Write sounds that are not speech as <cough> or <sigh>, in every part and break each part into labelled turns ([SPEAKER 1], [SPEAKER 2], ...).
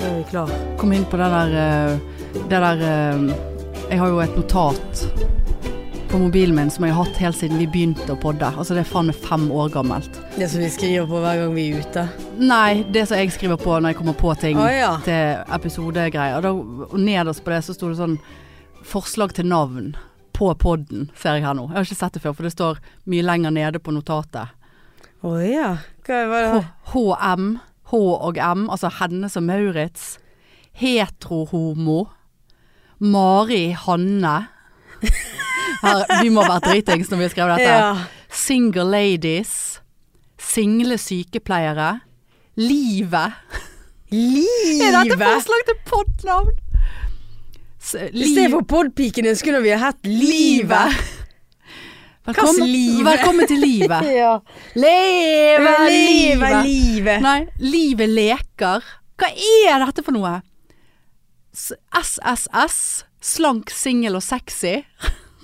[SPEAKER 1] husker. Kom inn på det der eh, Det der eh, Jeg har jo et notat på mobilen min som jeg har hatt helt siden vi begynte å podde. Altså det er faen meg fem år gammelt.
[SPEAKER 2] Det som vi skriver på hver gang vi er ute.
[SPEAKER 1] Nei, det som jeg skriver på når jeg kommer på ting
[SPEAKER 2] Å ja.
[SPEAKER 1] til episodegreier. Og da- Og nederst på det så sto det sånn forslag til navn på podden, ser jeg her nå. Jeg har ikke sett det før, for det står mye lenger nede på notatet.
[SPEAKER 2] Å ja. Hva var det?
[SPEAKER 1] H- HM, H og M, altså Hennes og Maurits. Heterohomo. Mari Hanne. Her, vi må ha vært dritings når vi har skrevet dette.
[SPEAKER 2] Ja.
[SPEAKER 1] Single ladies. Single sykepleiere. Livet. Er dette
[SPEAKER 2] Livet!
[SPEAKER 1] forslag til podnavn? S-
[SPEAKER 2] I
[SPEAKER 1] Liv.
[SPEAKER 2] stedet for podpikene skulle vi ha hett Livet.
[SPEAKER 1] Livet. Velkommen,
[SPEAKER 2] liv?
[SPEAKER 1] velkommen til
[SPEAKER 2] <laughs>
[SPEAKER 1] livet.
[SPEAKER 2] Ja.
[SPEAKER 1] Leve
[SPEAKER 2] Livet, livet.
[SPEAKER 1] Nei, livet leker. Hva er dette for noe? S- SSS. Slank, singel og sexy.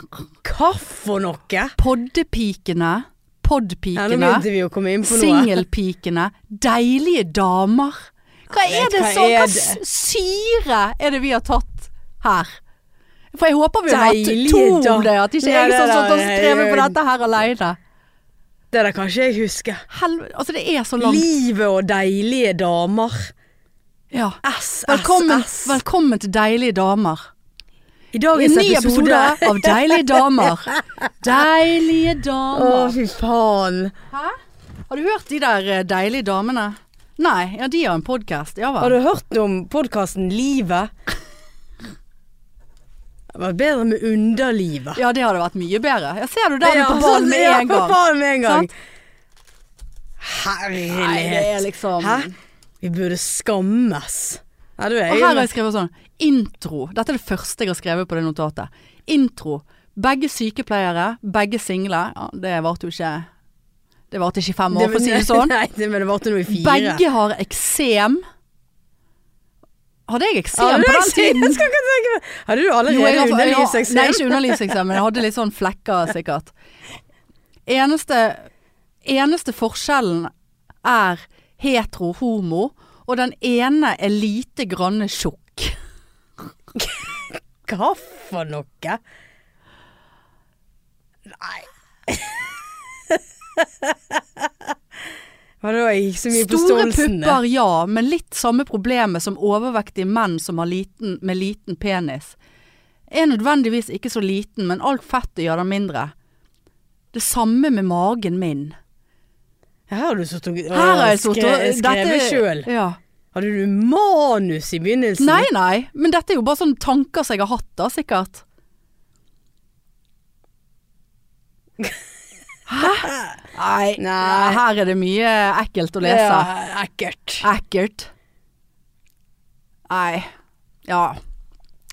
[SPEAKER 2] Hva for noe?
[SPEAKER 1] Poddepikene.
[SPEAKER 2] Ja, nå
[SPEAKER 1] Podpikene.
[SPEAKER 2] begynte vi å komme inn på noe.
[SPEAKER 1] Singelpikene. Deilige damer. Hva er
[SPEAKER 2] vet,
[SPEAKER 1] det
[SPEAKER 2] hva
[SPEAKER 1] sånn?
[SPEAKER 2] er
[SPEAKER 1] Hva
[SPEAKER 2] det?
[SPEAKER 1] s- syre er det vi har tatt her? For jeg håper vi har hatt
[SPEAKER 2] Deilige
[SPEAKER 1] to om
[SPEAKER 2] da-
[SPEAKER 1] det, at ikke
[SPEAKER 2] Nei,
[SPEAKER 1] jeg
[SPEAKER 2] det
[SPEAKER 1] som
[SPEAKER 2] der
[SPEAKER 1] satt og
[SPEAKER 2] er
[SPEAKER 1] skrevet på
[SPEAKER 2] jo-
[SPEAKER 1] dette her aleine.
[SPEAKER 2] Det der kan ikke jeg huske.
[SPEAKER 1] Helvete. Altså, det er så langt.
[SPEAKER 2] Livet og deilige damer.
[SPEAKER 1] Ja.
[SPEAKER 2] SSS.
[SPEAKER 1] Velkommen, velkommen til deilige damer.
[SPEAKER 2] I
[SPEAKER 1] En
[SPEAKER 2] dagens
[SPEAKER 1] ny episode
[SPEAKER 2] <laughs>
[SPEAKER 1] av Deilige damer. Deilige
[SPEAKER 2] Å,
[SPEAKER 1] damer.
[SPEAKER 2] fy faen.
[SPEAKER 1] Hæ? Har du hørt de der eh, deilige damene? Nei, ja de har en podkast. Ja
[SPEAKER 2] Har
[SPEAKER 1] vel.
[SPEAKER 2] du hørt om podkasten Livet? Det var bedre med Underlivet.
[SPEAKER 1] Ja, det hadde vært mye bedre. Jeg ser du der er på ballen med
[SPEAKER 2] ja,
[SPEAKER 1] en gang.
[SPEAKER 2] På ballen med en gang.
[SPEAKER 1] Sant? Nei, det er
[SPEAKER 2] Herlighet.
[SPEAKER 1] liksom
[SPEAKER 2] Hæ? Vi burde skammes. Ja, du er
[SPEAKER 1] Og
[SPEAKER 2] jo
[SPEAKER 1] her har jeg skrevet sånn Intro. Dette er det første jeg har skrevet på det notatet. Intro. Begge sykepleiere, begge single. Ja, det varte jo ikke Det varte ikke i fem år, for å si
[SPEAKER 2] <laughs>
[SPEAKER 1] det sånn.
[SPEAKER 2] Nei, det- men det varte nå i fire.
[SPEAKER 1] Begge har eksem. Hadde jeg eksem
[SPEAKER 2] Hadde du
[SPEAKER 1] på den
[SPEAKER 2] eksem?
[SPEAKER 1] tiden?
[SPEAKER 2] <laughs> Jeg skal ikke tenke meg Hadde du
[SPEAKER 1] Jo, jeg
[SPEAKER 2] allerede
[SPEAKER 1] har-
[SPEAKER 2] underlivseksamen?
[SPEAKER 1] Nei, ikke underlivseksamen. Jeg hadde litt sånn flekker, sikkert. Eneste, eneste forskjellen er hetero-homo, og den ene er lite grann tjukk.
[SPEAKER 2] Hva for noe? Nei. <laughs> Hva da? Jeg gikk så mye på
[SPEAKER 1] Store
[SPEAKER 2] stolsen.
[SPEAKER 1] pupper, ja, men litt samme problemet som overvektige menn som har liten, med liten penis. Er nødvendigvis ikke så liten, men alt fettet gjør den mindre. Det samme med magen min.
[SPEAKER 2] Her har du sittet og
[SPEAKER 1] Her har jeg sittet
[SPEAKER 2] skre-
[SPEAKER 1] og
[SPEAKER 2] skrevet
[SPEAKER 1] dette-
[SPEAKER 2] sjøl.
[SPEAKER 1] Ja.
[SPEAKER 2] Hadde du manus i begynnelsen?
[SPEAKER 1] Nei, nei, men dette er jo bare sånne tanker som jeg har hatt da, sikkert. Hæ? Nei.
[SPEAKER 2] Nei.
[SPEAKER 1] Her er det mye ekkelt å lese.
[SPEAKER 2] Ja, ekkelt.
[SPEAKER 1] Ekkelt. Nei. Ja.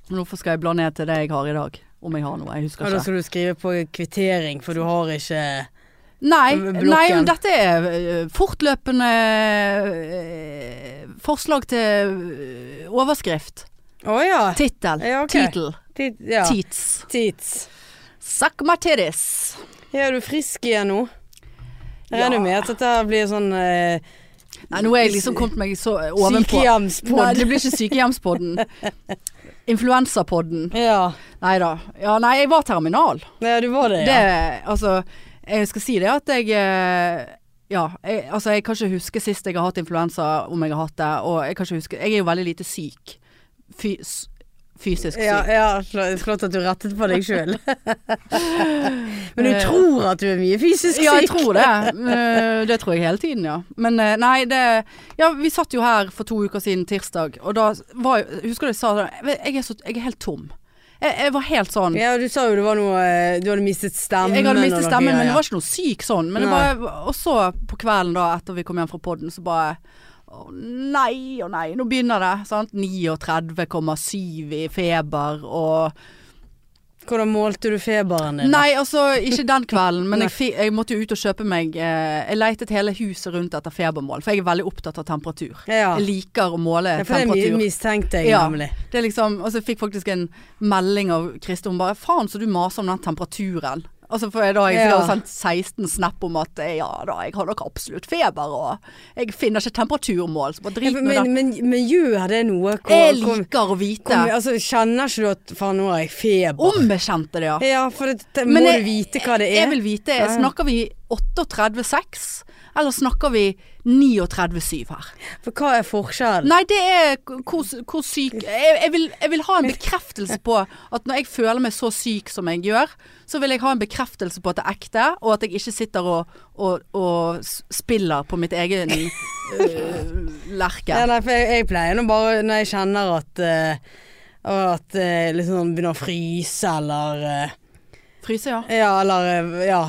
[SPEAKER 1] Hvorfor skal jeg bla ned til det jeg har i dag? Om jeg har noe, jeg
[SPEAKER 2] Og
[SPEAKER 1] husker
[SPEAKER 2] da
[SPEAKER 1] ikke.
[SPEAKER 2] skal du skrive på kvittering, for du har ikke
[SPEAKER 1] Nei,
[SPEAKER 2] blokken.
[SPEAKER 1] nei men dette er øh, fortløpende øh, forslag til øh, overskrift.
[SPEAKER 2] Å ja.
[SPEAKER 1] Tittel.
[SPEAKER 2] Ja, ok.
[SPEAKER 1] Titel.
[SPEAKER 2] Tid, ja.
[SPEAKER 1] Teats.
[SPEAKER 2] Tids.
[SPEAKER 1] Suck my titties.
[SPEAKER 2] Ja, er du frisk igjen nå? Jeg
[SPEAKER 1] Ja.
[SPEAKER 2] regner med at dette blir sånn eh,
[SPEAKER 1] Nei, nå er jeg liksom kommet meg så ovenpå. Nei,
[SPEAKER 2] sykehjemspodd.
[SPEAKER 1] det blir ikke sykehjemspodden.
[SPEAKER 2] <laughs>
[SPEAKER 1] Influensapodden.
[SPEAKER 2] Ja.
[SPEAKER 1] Nei da. Ja, nei, jeg var terminal.
[SPEAKER 2] ja, du var det, ja.
[SPEAKER 1] Det, altså, jeg skal si det at jeg eh, Ja, jeg, altså jeg kan ikke huske sist jeg har hatt influensa, om jeg har hatt det. Og jeg kan ikke huske Jeg er jo veldig lite syk. Fys, fysisk syk.
[SPEAKER 2] Ja, ja, fl- flott at du rettet på deg
[SPEAKER 1] <laughs>
[SPEAKER 2] sjøl. Men du
[SPEAKER 1] Eh.
[SPEAKER 2] tror at du er mye fysisk <laughs> syk?
[SPEAKER 1] Ja, jeg tror det. Eh, Det tror jeg hele tiden, ja. Men eh, nei, det Ja, vi satt jo her for to uker siden, tirsdag, og da var jo Husker du jeg sa det? Jeg er, så, jeg er helt tom. Jeg, jeg var helt sånn
[SPEAKER 2] Ja, du sa jo det var noe eh, Du hadde mistet stemmen.
[SPEAKER 1] Jeg hadde
[SPEAKER 2] og
[SPEAKER 1] mistet
[SPEAKER 2] noe
[SPEAKER 1] stemmen,
[SPEAKER 2] greier,
[SPEAKER 1] men det
[SPEAKER 2] ja.
[SPEAKER 1] var ikke noe syk sånn. Men det
[SPEAKER 2] Nei.
[SPEAKER 1] bare, og så på kvelden da, etter vi kom hjem fra podden, så bare Å nei, å nei, nå begynner det. sant? 39,7 i feber og
[SPEAKER 2] Hvordan målte du feberen din?
[SPEAKER 1] Nei, altså ikke den kvelden, men jeg, fi- jeg måtte jo ut og kjøpe meg eh, Jeg letet hele huset rundt etter febermål, for jeg er veldig opptatt av temperatur.
[SPEAKER 2] Ja.
[SPEAKER 1] Jeg liker å måle
[SPEAKER 2] Ja, for det mi-
[SPEAKER 1] temperatur.
[SPEAKER 2] mistenkte jeg
[SPEAKER 1] Ja.
[SPEAKER 2] nemlig.
[SPEAKER 1] Det er liksom, altså jeg fikk faktisk en melding av Kristin, hun bare faen så du maser om den temperaturen. Altså for da har jeg sikkert
[SPEAKER 2] Ja.
[SPEAKER 1] sendt 16 snap om at eh, ja da, jeg har nok absolutt feber og jeg finner ikke temperaturmål, så bare drit
[SPEAKER 2] Men,
[SPEAKER 1] med det.
[SPEAKER 2] men, men, men gjør det noe? Hvor,
[SPEAKER 1] Jeg
[SPEAKER 2] hvor-
[SPEAKER 1] liker å vite.
[SPEAKER 2] hvor- altså, kjenner ikke du at faen, nå har jeg feber?
[SPEAKER 1] Ombekjente det, ja.
[SPEAKER 2] Ja, for det, det,
[SPEAKER 1] Men
[SPEAKER 2] må
[SPEAKER 1] jeg-
[SPEAKER 2] du vite hva det
[SPEAKER 1] Jeg
[SPEAKER 2] er.
[SPEAKER 1] vil vite,
[SPEAKER 2] Ja, ja.
[SPEAKER 1] snakker vi 38,6 eller snakker vi 39,7 her?
[SPEAKER 2] For hva er forskjellen?
[SPEAKER 1] Nei, det er k- hvor, hvor syk jeg, jeg, vil, jeg vil ha en bekreftelse på at når jeg føler meg så syk som jeg gjør, så vil jeg ha en bekreftelse på at det er ekte, og at jeg ikke sitter og, og, og s- spiller på mitt egen øh,
[SPEAKER 2] Ja,
[SPEAKER 1] lerke.
[SPEAKER 2] nei, for jeg, jeg pleier nå bare når jeg kjenner at eh, At eh, liksom sånn begynner å fryse eller eh,
[SPEAKER 1] Fryser, ja.
[SPEAKER 2] Ja, eller eh, Ja.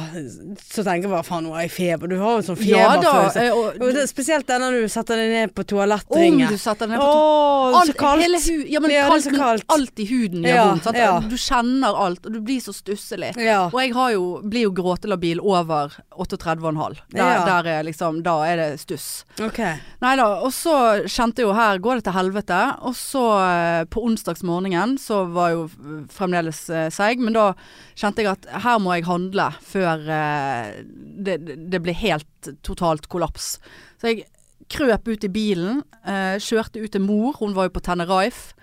[SPEAKER 2] Så tenker jeg bare faen, nå har jeg feber. Du har jo sånn
[SPEAKER 1] Ja da.
[SPEAKER 2] feberfølelse.
[SPEAKER 1] eh, Og,
[SPEAKER 2] Og det, spesielt den når du setter deg ned på
[SPEAKER 1] om
[SPEAKER 2] toalettringen.
[SPEAKER 1] du setter den ned på to-
[SPEAKER 2] Åh,
[SPEAKER 1] Alt,
[SPEAKER 2] så kaldt.
[SPEAKER 1] Hele hu ja, men
[SPEAKER 2] Ja, det er
[SPEAKER 1] kaldt,
[SPEAKER 2] så
[SPEAKER 1] men
[SPEAKER 2] kaldt.
[SPEAKER 1] alt i huden gjør
[SPEAKER 2] Ja,
[SPEAKER 1] vondt. Sant?
[SPEAKER 2] ja.
[SPEAKER 1] Du kjenner alt, og du blir så stusslig.
[SPEAKER 2] Ja.
[SPEAKER 1] Og jeg har jo, blir jo gråtelabil over 38,5. Der,
[SPEAKER 2] Ja.
[SPEAKER 1] der er liksom, da er det stuss.
[SPEAKER 2] Ok.
[SPEAKER 1] Nei da. Og så kjente jeg jo her går det til helvete. Og så eh, på onsdagsmorgenen så var jeg jo f- fremdeles eh, seig, men da kjente jeg at her må jeg handle før eh, det, det ble helt totalt kollaps. Så jeg krøp ut i bilen, eh, kjørte ut til mor, hun var jo på Tenerife.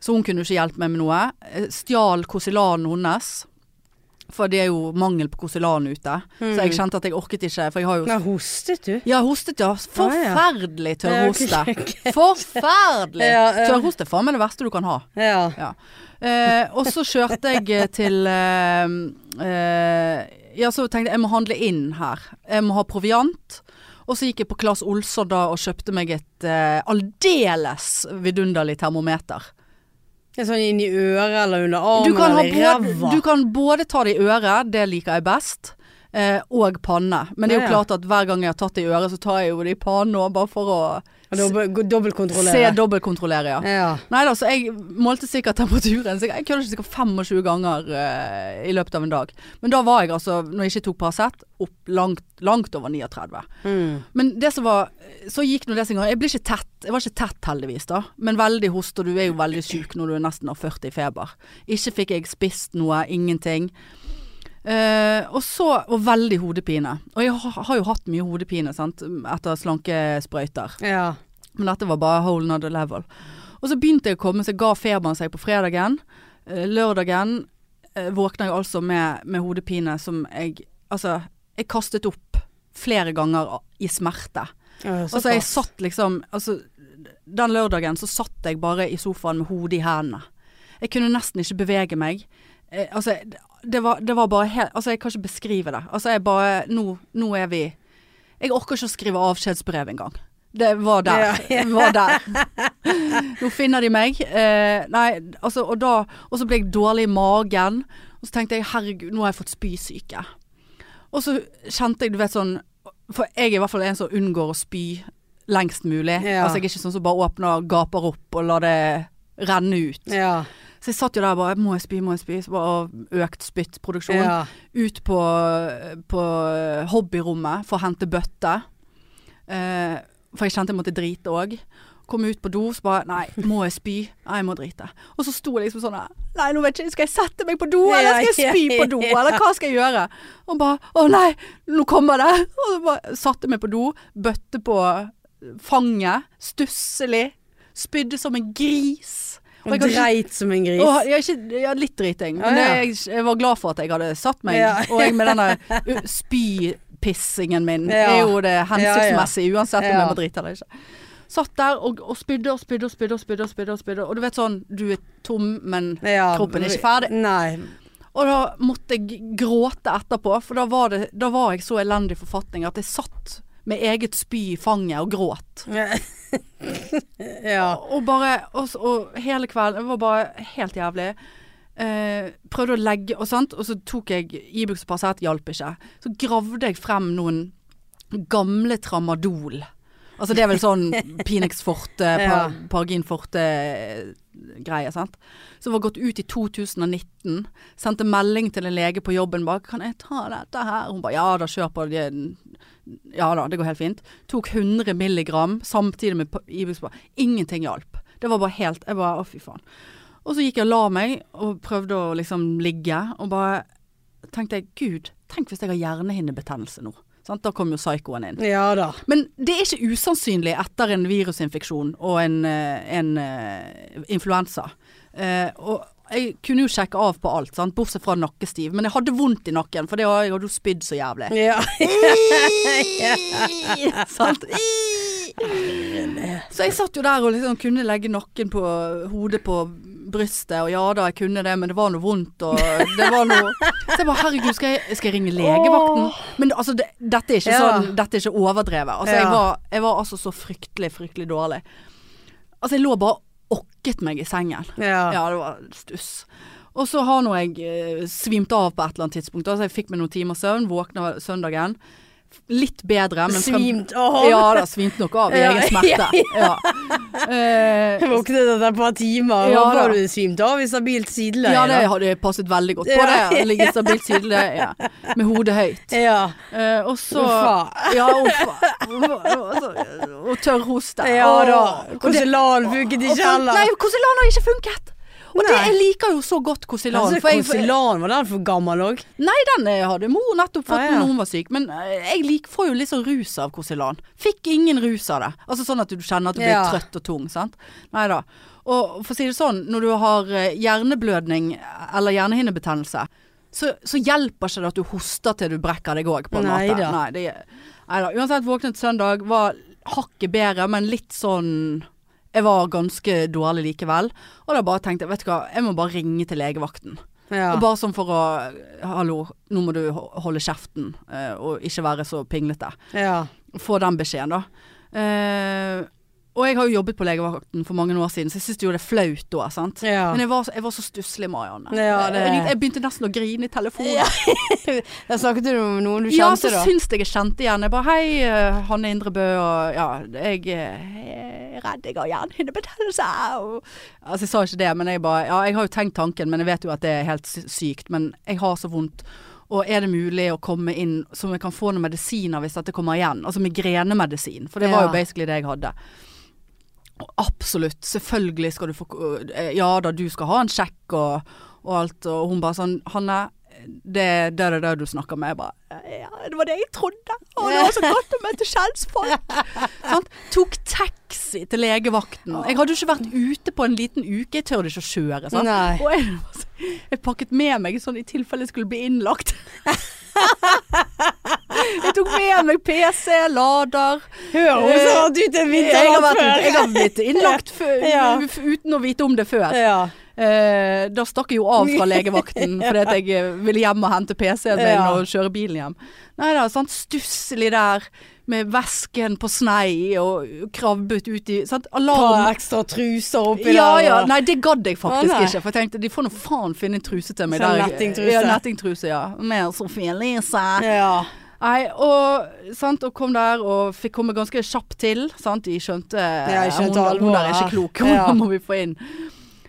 [SPEAKER 1] Så hun kunne jo ikke hjulpet meg med noe. Eh, Stjal Kosilanen hennes. For det er jo mangel på Kosilan ute. Så jeg kjente at jeg orket ikke, for jeg har jo
[SPEAKER 2] Nei, hostet du?
[SPEAKER 1] ja, hostet, ja. Forferdelig tørrhoste.
[SPEAKER 2] Ah, Ja, ok, <laughs>
[SPEAKER 1] Forferdelig!
[SPEAKER 2] Ja, ja.
[SPEAKER 1] Tørrhoste er faen meg det verste du kan ha.
[SPEAKER 2] Ja.
[SPEAKER 1] Ja. Eh, og så kjørte jeg eh, til eh, eh, Ja, så tenkte jeg jeg må handle inn her. Jeg må ha proviant. Og så gikk jeg på Claes Olsson da og kjøpte meg et eh, aldeles vidunderlig termometer.
[SPEAKER 2] Det er Sånn inn i øret eller under armen
[SPEAKER 1] Du kan, ha
[SPEAKER 2] eller i
[SPEAKER 1] både,
[SPEAKER 2] ræva.
[SPEAKER 1] du kan både ta det i øret, det liker jeg best, eh, og panne. Men det er jo
[SPEAKER 2] Ja, ja.
[SPEAKER 1] klart at hver gang jeg har tatt det i øret, så tar jeg jo det i pannen òg, bare for å
[SPEAKER 2] Og dobbel- gå-
[SPEAKER 1] se
[SPEAKER 2] Dobbeltkontrollere.
[SPEAKER 1] dobbeltkontrollere, ja.
[SPEAKER 2] Ja.
[SPEAKER 1] Nei da, så jeg målte sikkert temperaturen. Sikkert, jeg kødder ikke sikkert 25 ganger eh, i løpet av en dag. Men da var jeg altså, når jeg ikke tok Paracet, opp langt, langt over 39.
[SPEAKER 2] Mm.
[SPEAKER 1] Men det som var Så gikk nå det sin gang. Jeg ble ikke tett. Jeg var ikke tett heldigvis, da. Men veldig host, og du er jo veldig syk når du er nesten har 40 i feber. Ikke fikk jeg spist noe, ingenting. Eh, og så Og veldig hodepine. Og jeg har, har jo hatt mye hodepine, sant, etter slankesprøyter.
[SPEAKER 2] Ja.
[SPEAKER 1] Men dette var bare whole nother level. Og så begynte jeg å komme, så ga feberen seg på fredagen. Eh, Lørdagen eh, våkna jeg altså med, med hodepine som jeg Altså, jeg kastet opp flere ganger i smerte.
[SPEAKER 2] Ja,
[SPEAKER 1] Altså, jeg
[SPEAKER 2] såpass.
[SPEAKER 1] satt liksom Altså, den lørdagen så satt jeg bare i sofaen med hodet i hendene. Jeg kunne nesten ikke bevege meg. Eh, altså, det var, det var bare helt Altså, jeg kan ikke beskrive det. Altså, jeg bare Nå, nå er vi Jeg orker ikke å skrive avskjedsbrev engang. Det var der.
[SPEAKER 2] Ja, ja.
[SPEAKER 1] Var der. Nå finner de meg. Eh, nei, altså, og da Og så ble jeg dårlig i magen. Og så tenkte jeg herregud, nå har jeg fått spysyke. Og så kjente jeg, du vet sånn For jeg er i hvert fall en som unngår å spy lengst mulig.
[SPEAKER 2] Ja.
[SPEAKER 1] Altså jeg er ikke sånn som bare åpner, gaper opp og lar det renne ut.
[SPEAKER 2] Ja.
[SPEAKER 1] Så jeg satt jo der bare Må jeg spy, må jeg spy? Så bare og økt spyttproduksjon.
[SPEAKER 2] ja.
[SPEAKER 1] Ut på, på hobbyrommet for å hente bøtte. Eh, for jeg kjente jeg måtte drite òg. Kom ut på do, så bare Nei, må jeg spy? Nei, jeg må drite. Og så sto jeg liksom sånn her, Nei, nå vet jeg ikke. Skal jeg sette meg på do, eller skal jeg spy på do? Eller hva skal jeg gjøre? Og bare Å nei, nå kommer det. Og så bare satte jeg meg på do. Bøtte på fanget. Stusslig. Spydde som en gris.
[SPEAKER 2] Og
[SPEAKER 1] jeg kan ikke-
[SPEAKER 2] dreit som en gris.
[SPEAKER 1] og, ja, ikke, ja, litt driting. Men
[SPEAKER 2] Ah, ja.
[SPEAKER 1] jeg, jeg var glad for at jeg hadde satt meg.
[SPEAKER 2] Ja.
[SPEAKER 1] Og jeg med
[SPEAKER 2] <laughs>
[SPEAKER 1] denne u- spypissingen min
[SPEAKER 2] Ja.
[SPEAKER 1] er jo det hensiktsmessig uansett om
[SPEAKER 2] Ja.
[SPEAKER 1] jeg må drite eller ikke. Satt der og, og spydde og spydde og spydde og spydde. Og spydde og spydde Og du vet sånn, du er tom, men
[SPEAKER 2] Ja.
[SPEAKER 1] kroppen er ikke ferdig.
[SPEAKER 2] Nei. <laughs>
[SPEAKER 1] Og da måtte jeg gråte etterpå, for da var, det, da var jeg så elendig forfatning at jeg satt med eget spy i fanget og gråt.
[SPEAKER 2] Ja.
[SPEAKER 1] Og bare og, s- og hele kvelden Det var bare helt jævlig. Eh, prøvde å legge og sånt, og så tok jeg Ibux og Paracet, hjalp ikke. Så gravde jeg frem noen gamle tramadol. Altså det er vel
[SPEAKER 2] <laughs>
[SPEAKER 1] sånn Pinex Forte,
[SPEAKER 2] Ja.
[SPEAKER 1] par, Pargin Forte-greie, sant. Som var gått ut i 2019. Sendte melding til en lege på jobben bare 'Kan jeg ta dette her?' Hun bare 'Ja da, kjør på'. det- ja da, det går helt fint. Tok 100 milligram samtidig med pa- Ibux. på. Ingenting hjalp. Det var bare helt Jeg bare, å fy faen. Og så gikk jeg og la meg, og prøvde å liksom ligge, og bare tenkte jeg gud, tenk hvis jeg har hjernehinnebetennelse nå. Sant? Da kom jo psykoen inn.
[SPEAKER 2] Ja da.
[SPEAKER 1] Men det er ikke usannsynlig etter en virusinfeksjon og en, eh, en eh, influensa. Eh, og jeg kunne jo sjekke av på alt, sant? bortsett fra nakkestiv. Men jeg hadde vondt i nakken, for det har jeg hadde jo spydd så jævlig.
[SPEAKER 2] Ja. <laughs>
[SPEAKER 1] sant? Så jeg satt jo der og liksom kunne legge nakken på hodet på brystet, og ja da, jeg kunne det, men det var noe vondt, og det var noe Så jeg bare herregud, skal jeg, skal jeg ringe legevakten? Men det- altså, det, dette er ikke
[SPEAKER 2] Ja.
[SPEAKER 1] sånn, dette er ikke overdrevet. Altså, jeg,
[SPEAKER 2] Ja.
[SPEAKER 1] var, jeg var altså så fryktelig, fryktelig dårlig. Altså, jeg lå bare og okket meg i sengen.
[SPEAKER 2] ja.
[SPEAKER 1] Ja, det var stuss. Og så har nå jeg eh, svimt av på et eller annet tidspunkt. Altså jeg fikk meg noen timer søvn, våkna søndagen. F- Litt bedre, men frem-
[SPEAKER 2] Svimt av?
[SPEAKER 1] Ja da, svimt nok av i
[SPEAKER 2] <laughs> Ja,
[SPEAKER 1] egen smerte. Ja. Eh,
[SPEAKER 2] Jeg våknet etter et par timer, og
[SPEAKER 1] Ja,
[SPEAKER 2] da
[SPEAKER 1] da.
[SPEAKER 2] var du svimt av i stabilt sideleie.
[SPEAKER 1] ja, det
[SPEAKER 2] da.
[SPEAKER 1] hadde passet veldig godt på
[SPEAKER 2] Ja.
[SPEAKER 1] det. Ligge stabilt sideleie ja. med hodet høyt.
[SPEAKER 2] ja.
[SPEAKER 1] Eh, og så
[SPEAKER 2] Uffa.
[SPEAKER 1] Ja, uffa. Og så- Og altså, tørr hoste.
[SPEAKER 2] ja da.
[SPEAKER 1] Åh. Og det-
[SPEAKER 2] Konsulaten funket
[SPEAKER 1] og
[SPEAKER 2] ikke
[SPEAKER 1] så- Nei,
[SPEAKER 2] heller.
[SPEAKER 1] Kosilan har ikke funket. Og det,
[SPEAKER 2] Nei.
[SPEAKER 1] jeg liker jo så godt Kosilan.
[SPEAKER 2] Altså,
[SPEAKER 1] for jeg- for-
[SPEAKER 2] Konsulaten, var den for gammel òg?
[SPEAKER 1] Nei, den eh, hadde mor nettopp fått
[SPEAKER 2] Ah, ja.
[SPEAKER 1] når hun var syk. Men eh, jeg lik, får jo litt sånn rus av Korselan. Fikk ingen rus av det. Altså sånn at du kjenner at du blir
[SPEAKER 2] Ja.
[SPEAKER 1] trøtt og tung. Sant? Nei da. Og for å si det sånn, når du har eh, hjerneblødning eh, eller hjernehinnebetennelse, så, så hjelper ikke det at du hoster til du brekker deg òg, på en
[SPEAKER 2] Nei
[SPEAKER 1] måte.
[SPEAKER 2] da.
[SPEAKER 1] Nei, det, nei da. Uansett, våknet søndag, var hakket bedre, men litt sånn Jeg var ganske dårlig likevel. Og da bare tenkte jeg, vet du hva, jeg må bare ringe til legevakten.
[SPEAKER 2] Ja.
[SPEAKER 1] Og bare sånn for å Hallo, nå må du ho- holde kjeften eh, og ikke være så pinglete.
[SPEAKER 2] ja.
[SPEAKER 1] Få den beskjeden, da. Eh, og jeg har jo jobbet på legevakten for mange år siden, så jeg syns jo det er flaut da. sant?
[SPEAKER 2] Ja.
[SPEAKER 1] Men jeg var, så- jeg var så stusslig, Marianne. Eh,
[SPEAKER 2] Ja, det-
[SPEAKER 1] jeg, jeg begynte nesten å grine i telefonen. Ja,
[SPEAKER 2] Der snakket du om noen du kjente,
[SPEAKER 1] så
[SPEAKER 2] da.
[SPEAKER 1] syns jeg jeg kjente igjen. Jeg bare Hei, eh, Hanne Indrebø, og ja, jeg eh, er redd jeg har hjernehinnebetennelse. og- Altså, jeg sa ikke det, men jeg bare Ja, jeg har jo tenkt tanken, men jeg vet jo at det er helt sy- sykt. Men jeg har så vondt. Og er det mulig å komme inn som jeg kan få noen medisiner hvis dette kommer igjen? Altså migrenemedisin, for det var
[SPEAKER 2] Ja.
[SPEAKER 1] jo basically det jeg hadde. Og Absolutt, selvfølgelig skal du få eh, Ja da, du skal ha en sjekk og, og alt. Og hun bare sånn Hanne, det er det, det, det du snakker med. Jeg bare Ja, det var det jeg trodde. Og det var så godt å møte kjentfolk. <laughs> Sant? Tok taxi til legevakten. Jeg hadde jo ikke vært ute på en liten uke. Jeg tør ikke å kjøre. Sant?
[SPEAKER 2] Nei.
[SPEAKER 1] Og jeg, jeg pakket med meg sånn i tilfelle jeg skulle bli innlagt. <laughs> jeg tok med meg PC, lader.
[SPEAKER 2] Hør, hun
[SPEAKER 1] Eh,
[SPEAKER 2] har vært ute en
[SPEAKER 1] Jeg har,
[SPEAKER 2] vinternatt
[SPEAKER 1] vært,
[SPEAKER 2] før.
[SPEAKER 1] jeg har blitt <laughs> innlagt før,
[SPEAKER 2] Ja.
[SPEAKER 1] f- uten å vite om det før.
[SPEAKER 2] <laughs> Ja.
[SPEAKER 1] Eh, da stakk jeg jo av
[SPEAKER 2] <laughs>
[SPEAKER 1] fra legevakten fordi at jeg eh, ville hjem og hente PC-en min
[SPEAKER 2] Ja.
[SPEAKER 1] og kjøre bilen hjem. Nei da, sant. Stusslig der med vesken på snei og krabbet ut i sant?
[SPEAKER 2] Ta
[SPEAKER 1] Alarm
[SPEAKER 2] ekstra truser oppi
[SPEAKER 1] ja,
[SPEAKER 2] der.
[SPEAKER 1] ja.
[SPEAKER 2] og-
[SPEAKER 1] Nei, det gadd jeg faktisk
[SPEAKER 2] Å, nei.
[SPEAKER 1] ikke. For jeg tenkte de får nå faen finne en truse til meg.
[SPEAKER 2] Sånn
[SPEAKER 1] der jeg-
[SPEAKER 2] nettingtruse.
[SPEAKER 1] Ja, nettingtruse, ja. Med Sofie Elise.
[SPEAKER 2] Ja.
[SPEAKER 1] Nei, og, sant, og kom der og fikk komme ganske kjapt til. Sant? De skjønte
[SPEAKER 2] jeg skjønte
[SPEAKER 1] hun, der- hun der er
[SPEAKER 2] alvoret.
[SPEAKER 1] ikke klok, hun <laughs>
[SPEAKER 2] Ja.
[SPEAKER 1] må vi få inn.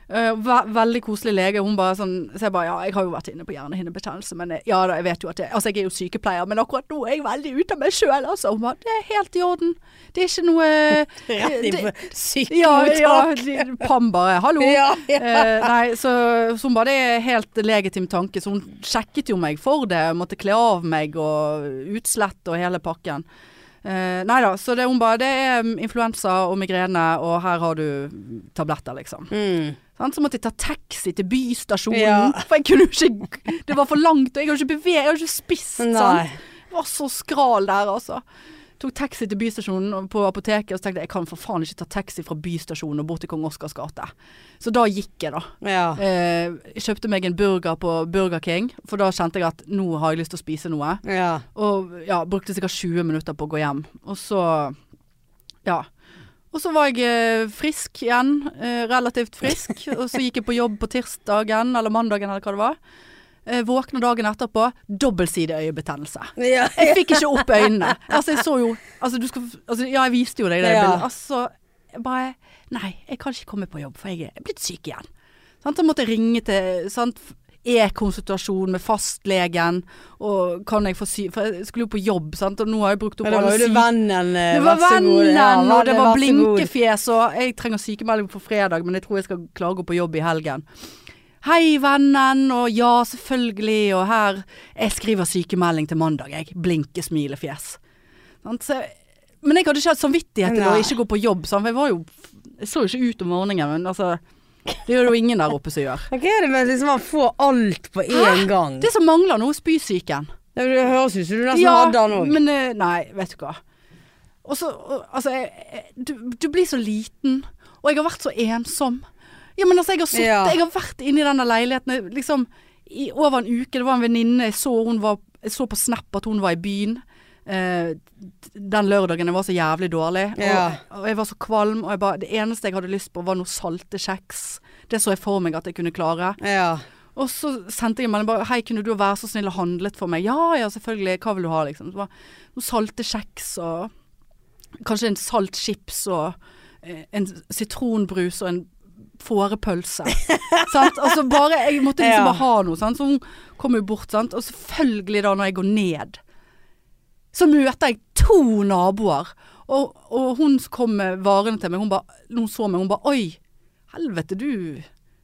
[SPEAKER 1] Eh, ve veldig koselig lege. Hun bare sånn Så jeg bare ja, jeg har jo vært inne på hjernehinnebetennelse, men jeg, ja da, jeg vet jo at jeg Altså, jeg er jo sykepleier, men akkurat nå er jeg veldig ute av meg sjøl, altså. Hun bare det er helt i orden. Det er ikke
[SPEAKER 2] <laughs>
[SPEAKER 1] noe
[SPEAKER 2] Rett inn på
[SPEAKER 1] Ja, Eh, ja.
[SPEAKER 2] sykkelmottak.
[SPEAKER 1] de- Pam bare hallo.
[SPEAKER 2] <laughs> Ja, ja.
[SPEAKER 1] Eh, nei, så, så hun bare det er helt legitim tanke, så hun sjekket jo meg for det. Jeg måtte kle av meg og utslett og hele pakken. Eh, nei da, så det, hun bare det er mm, influensa og migrene, og her har du tabletter, liksom.
[SPEAKER 2] Mm.
[SPEAKER 1] Sant? Så måtte jeg ta taxi til bystasjonen,
[SPEAKER 2] Ja.
[SPEAKER 1] for jeg kunne jo ikke Det var for langt, og jeg har jo ikke beveget, jeg har jo ikke spist.
[SPEAKER 2] Nei.
[SPEAKER 1] Sant? Jeg var så skral der, altså. Tok taxi til bystasjonen og på apoteket, og så tenkte jeg jeg kan for faen ikke ta taxi fra bystasjonen og bort til Kong Oscars gate. Så da gikk jeg, da.
[SPEAKER 2] Ja.
[SPEAKER 1] Eh, kjøpte meg en burger på Burger King, for da kjente jeg at nå har jeg lyst til å spise noe.
[SPEAKER 2] ja.
[SPEAKER 1] Og ja, brukte sikkert 20 minutter på å gå hjem. Og så Ja. Og så var jeg eh, frisk igjen. Eh, relativt frisk. og så gikk jeg på jobb på tirsdagen eller mandagen eller hva det var. Eh, våkna dagen etterpå. Dobbeltsideøyebetennelse.
[SPEAKER 2] ja.
[SPEAKER 1] Jeg fikk ikke opp øynene. Altså, jeg så jo altså, du skal, altså, Ja, jeg viste jo deg det
[SPEAKER 2] Ja.
[SPEAKER 1] bildet. Altså, jeg bare Nei, jeg kan ikke komme på jobb, for jeg er blitt syk igjen. Sant? Så måtte jeg ringe til sant? E-konsultasjon med fastlegen, og kan jeg få sy... For jeg skulle jo på jobb, sant, og nå har jeg brukt opp
[SPEAKER 2] Men det var
[SPEAKER 1] alle
[SPEAKER 2] jo det
[SPEAKER 1] syke
[SPEAKER 2] vennen. eh,
[SPEAKER 1] det var
[SPEAKER 2] vær så god.
[SPEAKER 1] vennen,
[SPEAKER 2] Ja,
[SPEAKER 1] og det
[SPEAKER 2] vennen,
[SPEAKER 1] var
[SPEAKER 2] vær så god.
[SPEAKER 1] blinkefjes, og jeg trenger sykemelding på fredag, men jeg tror jeg skal klare å gå på jobb i helgen. Hei, vennen, og ja, selvfølgelig, og her Jeg skriver sykemelding til mandag, jeg. Blinke, smile, fjes. Sant, Så, men jeg hadde ikke hatt samvittighet til å
[SPEAKER 2] Nei.
[SPEAKER 1] ikke gå på jobb, sant, for jeg var jo Jeg så jo ikke ut om morgenen, men altså Det gjør jo ingen der oppe som gjør.
[SPEAKER 2] Hva er det med at liksom, man får alt på én gang?
[SPEAKER 1] Det som mangler nå, er spysyken.
[SPEAKER 2] Det høres ut som du nesten hadde han òg.
[SPEAKER 1] men eh, nei, vet du hva. Og så, og- altså, jeg, jeg- du, du blir så liten, og jeg har vært så ensom. Ja, men altså, jeg har, suttet,
[SPEAKER 2] Ja.
[SPEAKER 1] jeg har vært inne i denne leiligheten jeg- liksom, i over en uke. Det var en venninne, jeg, så hun var- jeg så på Snap at hun var i byen. eh, den lørdagen jeg var så jævlig dårlig.
[SPEAKER 2] Ja.
[SPEAKER 1] Og, og jeg var så kvalm. Og jeg bare, det eneste jeg hadde lyst på, var noe salte kjeks. Det så jeg for meg at jeg kunne klare.
[SPEAKER 2] Ja.
[SPEAKER 1] Og så sendte jeg en melding bare Hei, kunne du være så snill og handlet for meg? Ja ja, selvfølgelig. Hva vil du ha, liksom? Så bare, noen salte kjeks og Kanskje en salt chips og eh, en sitronbrus og en fårepølse. sant? Altså bare Jeg måtte liksom
[SPEAKER 2] Ja.
[SPEAKER 1] bare ha noe, sant. Så hun kom jo bort, sant. Og selvfølgelig da, når jeg går ned, så møter jeg to naboer. Og, og hun som kom med varene til meg, hun, bare- hun så meg, hun bare Oi, helvete, du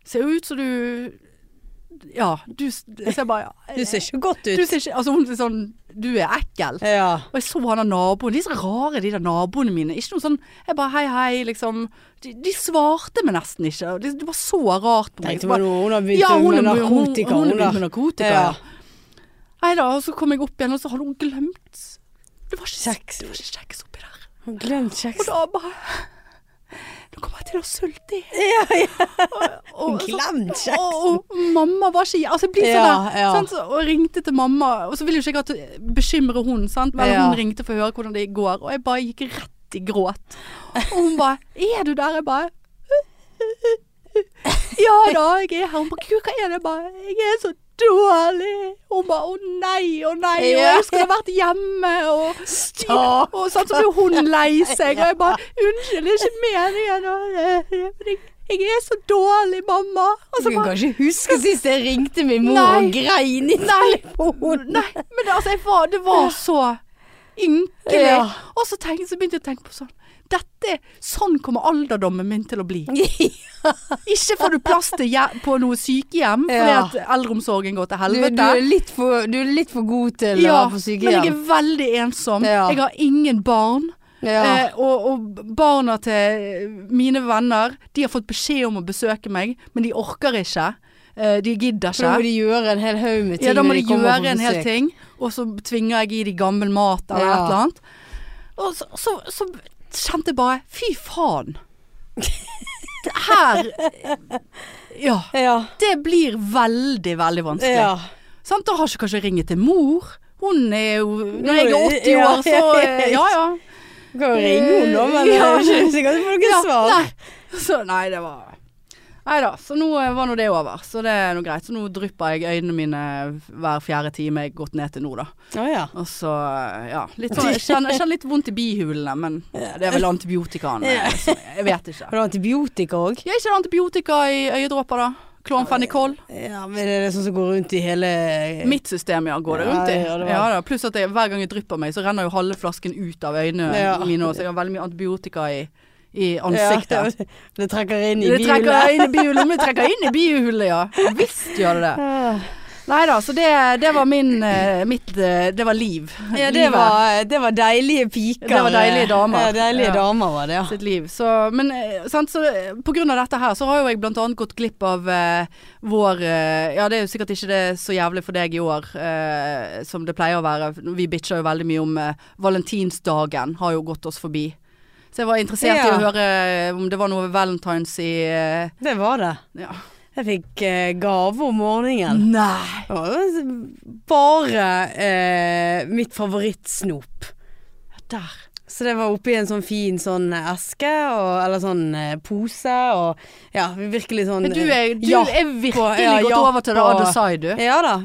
[SPEAKER 1] ser jo ut som du Ja, du s- Så jeg bare
[SPEAKER 2] <laughs> Du ser ikke godt
[SPEAKER 1] du
[SPEAKER 2] ut.
[SPEAKER 1] ser ikke Altså, hun er sånn Du er ekkel.
[SPEAKER 2] Ja.
[SPEAKER 1] Og jeg så han der naboen. De er så rare, de der naboene mine. Ikke noe sånn Jeg bare hei, hei, liksom. De, de svarte meg nesten ikke. De, det var så rart på meg.
[SPEAKER 2] Tenkte
[SPEAKER 1] Så bare-
[SPEAKER 2] meg nå, hun har
[SPEAKER 1] ja,
[SPEAKER 2] begynt
[SPEAKER 1] hun
[SPEAKER 2] med
[SPEAKER 1] er- hun- Hun
[SPEAKER 2] narkotika,
[SPEAKER 1] har
[SPEAKER 2] hun
[SPEAKER 1] begynt
[SPEAKER 2] da.
[SPEAKER 1] med narkotika,
[SPEAKER 2] Ja.
[SPEAKER 1] ja. Nei da, og så kom jeg opp igjen, og så hadde hun glemt Det var ikke
[SPEAKER 2] Kjeks.
[SPEAKER 1] Det var ikke kjeks oppi der.
[SPEAKER 2] Hun glemt
[SPEAKER 1] Og
[SPEAKER 2] kjeks.
[SPEAKER 1] da bare Nå kommer jeg til å sulte i hjel. Og- og-
[SPEAKER 2] Glemt kjeks.
[SPEAKER 1] og, og mamma var ikke Altså jeg blir sånn
[SPEAKER 2] Ja,
[SPEAKER 1] der,
[SPEAKER 2] ja.
[SPEAKER 1] sant? Og ringte til mamma Og så ville jo ikke jeg at bekymre hun sant? Men
[SPEAKER 2] Ja.
[SPEAKER 1] hun ringte for å høre hvordan det går Og jeg bare gikk rett i gråt Og hun bare, er du der? Jeg bare "Øh, Ja da, jeg er her Hun bare, gud hva er det? Jeg bare, jeg er så dårlig Hun bare, å nei, å nei Og
[SPEAKER 2] Ja.
[SPEAKER 1] jeg skulle vært hjemme Og
[SPEAKER 2] Stakkars.
[SPEAKER 1] og sånn så blir
[SPEAKER 2] <laughs>
[SPEAKER 1] hun lei seg, og jeg bare 'Unnskyld, det er ikke meningen.' og, eh, men jeg- 'Jeg er så dårlig, mamma.' Og
[SPEAKER 2] Du
[SPEAKER 1] så
[SPEAKER 2] kan
[SPEAKER 1] bare
[SPEAKER 2] ikke huske sist jeg ringte min mor
[SPEAKER 1] Nei.
[SPEAKER 2] og grein i telefonen.
[SPEAKER 1] Nei, men det- altså, jeg var, det var så ynkelig.
[SPEAKER 2] Ja.
[SPEAKER 1] Og så, tenkte, så begynte jeg å tenke på sånn dette, Sånn kommer alderdommen min til å bli. Ikke får du plass til hje- på noe sykehjem
[SPEAKER 2] Ja.
[SPEAKER 1] fordi at eldreomsorgen går til
[SPEAKER 2] <laughs> Du,
[SPEAKER 1] helvete.
[SPEAKER 2] du, er litt for, du er litt for god til å
[SPEAKER 1] ja,
[SPEAKER 2] være på
[SPEAKER 1] men jeg
[SPEAKER 2] sykehjem.
[SPEAKER 1] er veldig ensom.
[SPEAKER 2] Ja.
[SPEAKER 1] Jeg har ingen barn.
[SPEAKER 2] Ja.
[SPEAKER 1] Eh, og, og barna til eh, mine venner, de har fått beskjed om å besøke meg, men de orker ikke. Eh, de gidder
[SPEAKER 2] For da må
[SPEAKER 1] ikke.
[SPEAKER 2] de gjøre en hel haug med ting.
[SPEAKER 1] Ja, da må
[SPEAKER 2] når
[SPEAKER 1] de
[SPEAKER 2] kommer
[SPEAKER 1] gjøre
[SPEAKER 2] på
[SPEAKER 1] en hel
[SPEAKER 2] besøk.
[SPEAKER 1] ting, og så tvinger jeg i de gammel mat eller
[SPEAKER 2] Ja.
[SPEAKER 1] et eller annet. Og så, så, så kjente jeg bare Fy faen! Her eh, Ja.
[SPEAKER 2] Ja.
[SPEAKER 1] Det blir veldig, veldig vanskelig.
[SPEAKER 2] ja.
[SPEAKER 1] Sant? Da har ikke kanskje ringe til mor. Hun er jo Når jeg er 80
[SPEAKER 2] Ja.
[SPEAKER 1] år, så eh, Ja ja.
[SPEAKER 2] Du kan jo ringe henne nå, men
[SPEAKER 1] Eh, <laughs> Ja.
[SPEAKER 2] det er ikke sikkert du får noe
[SPEAKER 1] Ja,
[SPEAKER 2] svar.
[SPEAKER 1] Nei. <laughs> Så nei, det var Nei da, så nå eh, var nå det over. Så det er nå greit. Så nå drypper jeg øynene mine hver fjerde time jeg har gått ned til nå, da.
[SPEAKER 2] Å ja.
[SPEAKER 1] Og så, ja. Litt sånn, jeg, kjenner, jeg kjenner litt vondt i bihulene, men
[SPEAKER 2] <laughs>
[SPEAKER 1] det er vel antibiotikaen. eh, som- Jeg vet ikke.
[SPEAKER 2] Har du antibiotika òg?
[SPEAKER 1] Jeg er ikke antibiotika i øyedråper, da. Klonfenikol.
[SPEAKER 2] Ja, men det er det sånn som går rundt i hele eh,
[SPEAKER 1] Mitt system, ja, går det
[SPEAKER 2] Ja,
[SPEAKER 1] rundt i.
[SPEAKER 2] ja, det
[SPEAKER 1] Ja
[SPEAKER 2] var-
[SPEAKER 1] da. Pluss at jeg, hver gang jeg drypper meg, så renner jo halve flasken ut av øynene
[SPEAKER 2] Ja.
[SPEAKER 1] mine også. Så jeg har veldig mye antibiotika i, i
[SPEAKER 2] Ja,
[SPEAKER 1] ansiktet.
[SPEAKER 2] <laughs> det- det trekker inn i
[SPEAKER 1] Det trekker
[SPEAKER 2] bilen.
[SPEAKER 1] inn i bihulet, men det trekker inn i bihulet, ja. Visst gjør det det.
[SPEAKER 2] Ah,
[SPEAKER 1] Nei da, så det, det var min eh, mitt eh, Det eh, var liv.
[SPEAKER 2] Ja, det
[SPEAKER 1] Livet.
[SPEAKER 2] var, det var deilige piker.
[SPEAKER 1] Det var deilige damer.
[SPEAKER 2] Ja, deilige
[SPEAKER 1] Ja.
[SPEAKER 2] damer var det, ja.
[SPEAKER 1] sitt liv. Så, men eh, sant, så, eh, på grunn av dette her, så har jo jeg blant annet gått glipp av eh, vår eh, Ja, det er jo sikkert ikke det så jævlig for deg i år eh, som det pleier å være. Vi bitcher jo veldig mye om eh, valentinsdagen har jo gått oss forbi. Så jeg var interessert i
[SPEAKER 2] Ja.
[SPEAKER 1] å høre om det var noe valentines i eh,
[SPEAKER 2] Det var det.
[SPEAKER 1] ja.
[SPEAKER 2] Jeg fikk eh, gave om morgenen.
[SPEAKER 1] Nei!
[SPEAKER 2] Det var jo bare eh, mitt favorittsnop.
[SPEAKER 1] Der.
[SPEAKER 2] Så det var oppi en sånn fin sånn eske, og, eller sånn eh, pose, og ja, virkelig sånn
[SPEAKER 1] Men du er, du
[SPEAKER 2] ja.
[SPEAKER 1] er virkelig
[SPEAKER 2] ja,
[SPEAKER 1] gått
[SPEAKER 2] japp
[SPEAKER 1] over til the
[SPEAKER 2] og-
[SPEAKER 1] other side, du.
[SPEAKER 2] Ja da.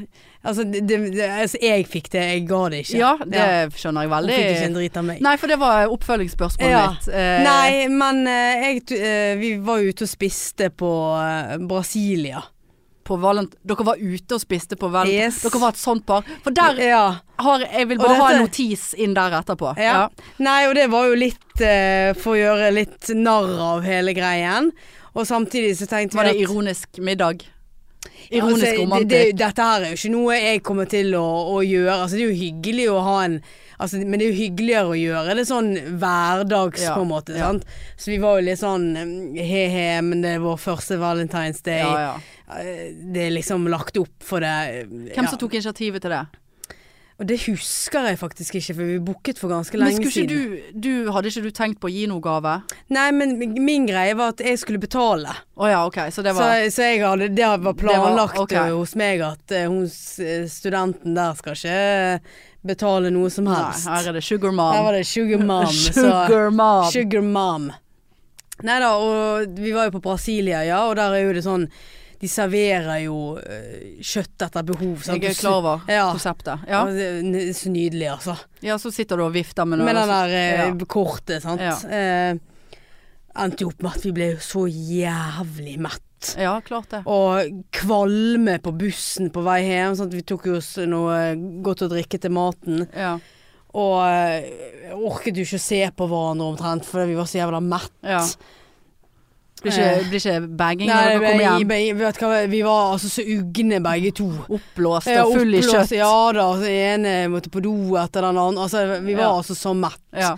[SPEAKER 2] Altså, det, det, altså, jeg fikk det, jeg ga det ikke.
[SPEAKER 1] Ja, det skjønner jeg
[SPEAKER 2] Hun
[SPEAKER 1] veldig.
[SPEAKER 2] fikk ikke en drit av meg.
[SPEAKER 1] Nei, for det var oppfølgingsspørsmålet
[SPEAKER 2] Ja.
[SPEAKER 1] mitt. Eh,
[SPEAKER 2] Nei, men eh, jeg, tu- eh, vi var jo ute og spiste på eh, Brasilia.
[SPEAKER 1] på valent Dere var ute og spiste på valent
[SPEAKER 2] Yes.
[SPEAKER 1] Dere var et sånt par For der
[SPEAKER 2] Ja.
[SPEAKER 1] har Jeg vil
[SPEAKER 2] Og
[SPEAKER 1] bare ha en
[SPEAKER 2] dette-
[SPEAKER 1] notis inn der etterpå
[SPEAKER 2] Ja. Nei, og det var jo litt eh, for å gjøre litt narr av hele greien. Og samtidig så tenkte
[SPEAKER 1] Var det
[SPEAKER 2] vi at
[SPEAKER 1] ironisk middag? Ironisk
[SPEAKER 2] Altså,
[SPEAKER 1] romantikk.
[SPEAKER 2] Det, det, dette her er jo ikke noe jeg kommer til å, å gjøre. Altså, det er jo hyggelig å ha en altså, Men det er jo hyggeligere å gjøre det sånn hverdags,
[SPEAKER 1] Ja,
[SPEAKER 2] på en måte.
[SPEAKER 1] ja.
[SPEAKER 2] Sant? Så vi var jo litt sånn mm, he-he, men det er vår første Valentine's Day.
[SPEAKER 1] ja, ja.
[SPEAKER 2] Eh, Det er liksom lagt opp for det.
[SPEAKER 1] Hvem som tok initiativet til det?
[SPEAKER 2] Og det husker jeg faktisk ikke, for vi booket for ganske
[SPEAKER 1] Men
[SPEAKER 2] lenge
[SPEAKER 1] skulle ikke
[SPEAKER 2] siden.
[SPEAKER 1] du, du Hadde ikke du tenkt på å gi noe gave?
[SPEAKER 2] Nei, men min greie var at jeg skulle betale.
[SPEAKER 1] Å ja, ok. Så det var
[SPEAKER 2] så, så jeg hadde, det var planlagt
[SPEAKER 1] ok.
[SPEAKER 2] eh, hos meg at eh, hun, s- eh, studenten der skal ikke eh, betale noe som
[SPEAKER 1] Nei,
[SPEAKER 2] helst.
[SPEAKER 1] her er det Sugar Mom.
[SPEAKER 2] her var det sugar
[SPEAKER 1] <laughs>
[SPEAKER 2] mom. så,
[SPEAKER 1] Sugar Mom.
[SPEAKER 2] sugar mom. Nei da, og vi var jo på Brasilia, ja, og der er jo det sånn De serverer jo eh, kjøtt etter behov. sant?
[SPEAKER 1] Jeg er klar over
[SPEAKER 2] Ja.
[SPEAKER 1] konseptet. Ja.
[SPEAKER 2] Og det er n- Så nydelig, altså.
[SPEAKER 1] ja, så sitter du og vifter med noe.
[SPEAKER 2] Med den
[SPEAKER 1] og så-
[SPEAKER 2] der eh,
[SPEAKER 1] altså, ja.
[SPEAKER 2] kortet, sant.
[SPEAKER 1] Ja.
[SPEAKER 2] Eh, endte jo opp med at vi ble så jævlig mett.
[SPEAKER 1] Ja, klart det.
[SPEAKER 2] Og kvalme på bussen på vei hjem. Sånn at vi tok jo oss noe eh, godt å drikke til maten.
[SPEAKER 1] Ja.
[SPEAKER 2] Og eh, orket jo ikke å se på hverandre omtrent, fordi vi var så jævla mett.
[SPEAKER 1] ja. Blir ikke, blir ikke bagging
[SPEAKER 2] Nei,
[SPEAKER 1] når dere kommer
[SPEAKER 2] vi,
[SPEAKER 1] hjem?
[SPEAKER 2] vi, vet hva, vi var altså så ugne begge to.
[SPEAKER 1] Oppblåst
[SPEAKER 2] Ja,
[SPEAKER 1] og full i
[SPEAKER 2] oppblåst,
[SPEAKER 1] kjøtt.
[SPEAKER 2] Ja da, altså, ene måtte på do etter den andre. Altså, vi var
[SPEAKER 1] Ja.
[SPEAKER 2] altså så mett.
[SPEAKER 1] Ja.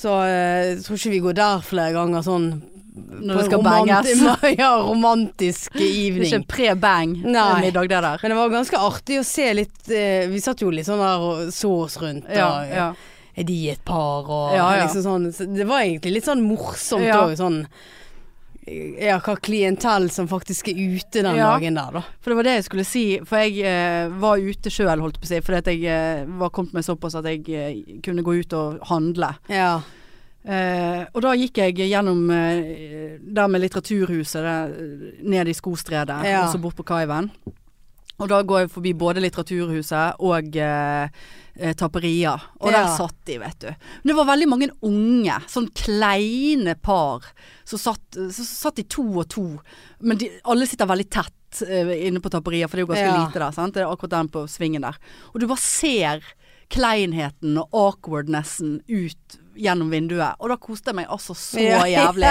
[SPEAKER 2] Så eh, jeg tror ikke vi går der flere ganger sånn
[SPEAKER 1] Når
[SPEAKER 2] på
[SPEAKER 1] det skal
[SPEAKER 2] romanti- <laughs>
[SPEAKER 1] banges.
[SPEAKER 2] Ja,
[SPEAKER 1] <laughs>
[SPEAKER 2] romantisk
[SPEAKER 1] Det er ikke
[SPEAKER 2] evening.
[SPEAKER 1] en pre-bang
[SPEAKER 2] Nei.
[SPEAKER 1] middag, det der.
[SPEAKER 2] Men det var ganske artig å se litt eh, Vi satt jo litt sånn der og så oss rundt. Og, eh,
[SPEAKER 1] Ja, ja.
[SPEAKER 2] Er de et par? Og
[SPEAKER 1] Ja, ja.
[SPEAKER 2] liksom sånn. Så det var egentlig litt sånn morsomt
[SPEAKER 1] Ja.
[SPEAKER 2] òg. Sånn eh, ja, hva klientell som faktisk er ute den
[SPEAKER 1] Ja.
[SPEAKER 2] dagen der, da.
[SPEAKER 1] For det var det jeg skulle si, for jeg eh, var ute sjøl, holdt på å si, fordi at jeg eh, var kommet meg såpass at jeg eh, kunne gå ut og handle.
[SPEAKER 2] Ja.
[SPEAKER 1] Eh, og da gikk jeg gjennom eh, der med Litteraturhuset, der, eh, ned i Skostredet,
[SPEAKER 2] Ja.
[SPEAKER 1] og så bort på Kaiven. Og da går jeg forbi både Litteraturhuset og eh, eh, Taperia. Og der
[SPEAKER 2] Ja.
[SPEAKER 1] satt de, vet du. Men det var veldig mange unge, sånn kleine par. Så satt, så satt de to og to. Men de, alle sitter veldig tett eh, inne på Taperia, for det er jo ganske
[SPEAKER 2] Ja.
[SPEAKER 1] lite der. Sant? Det er akkurat den på svingen der. Og du bare ser kleinheten og awkwardnessen ut gjennom vinduet. Og da koste jeg meg altså så
[SPEAKER 2] Ja. <laughs>
[SPEAKER 1] jævlig.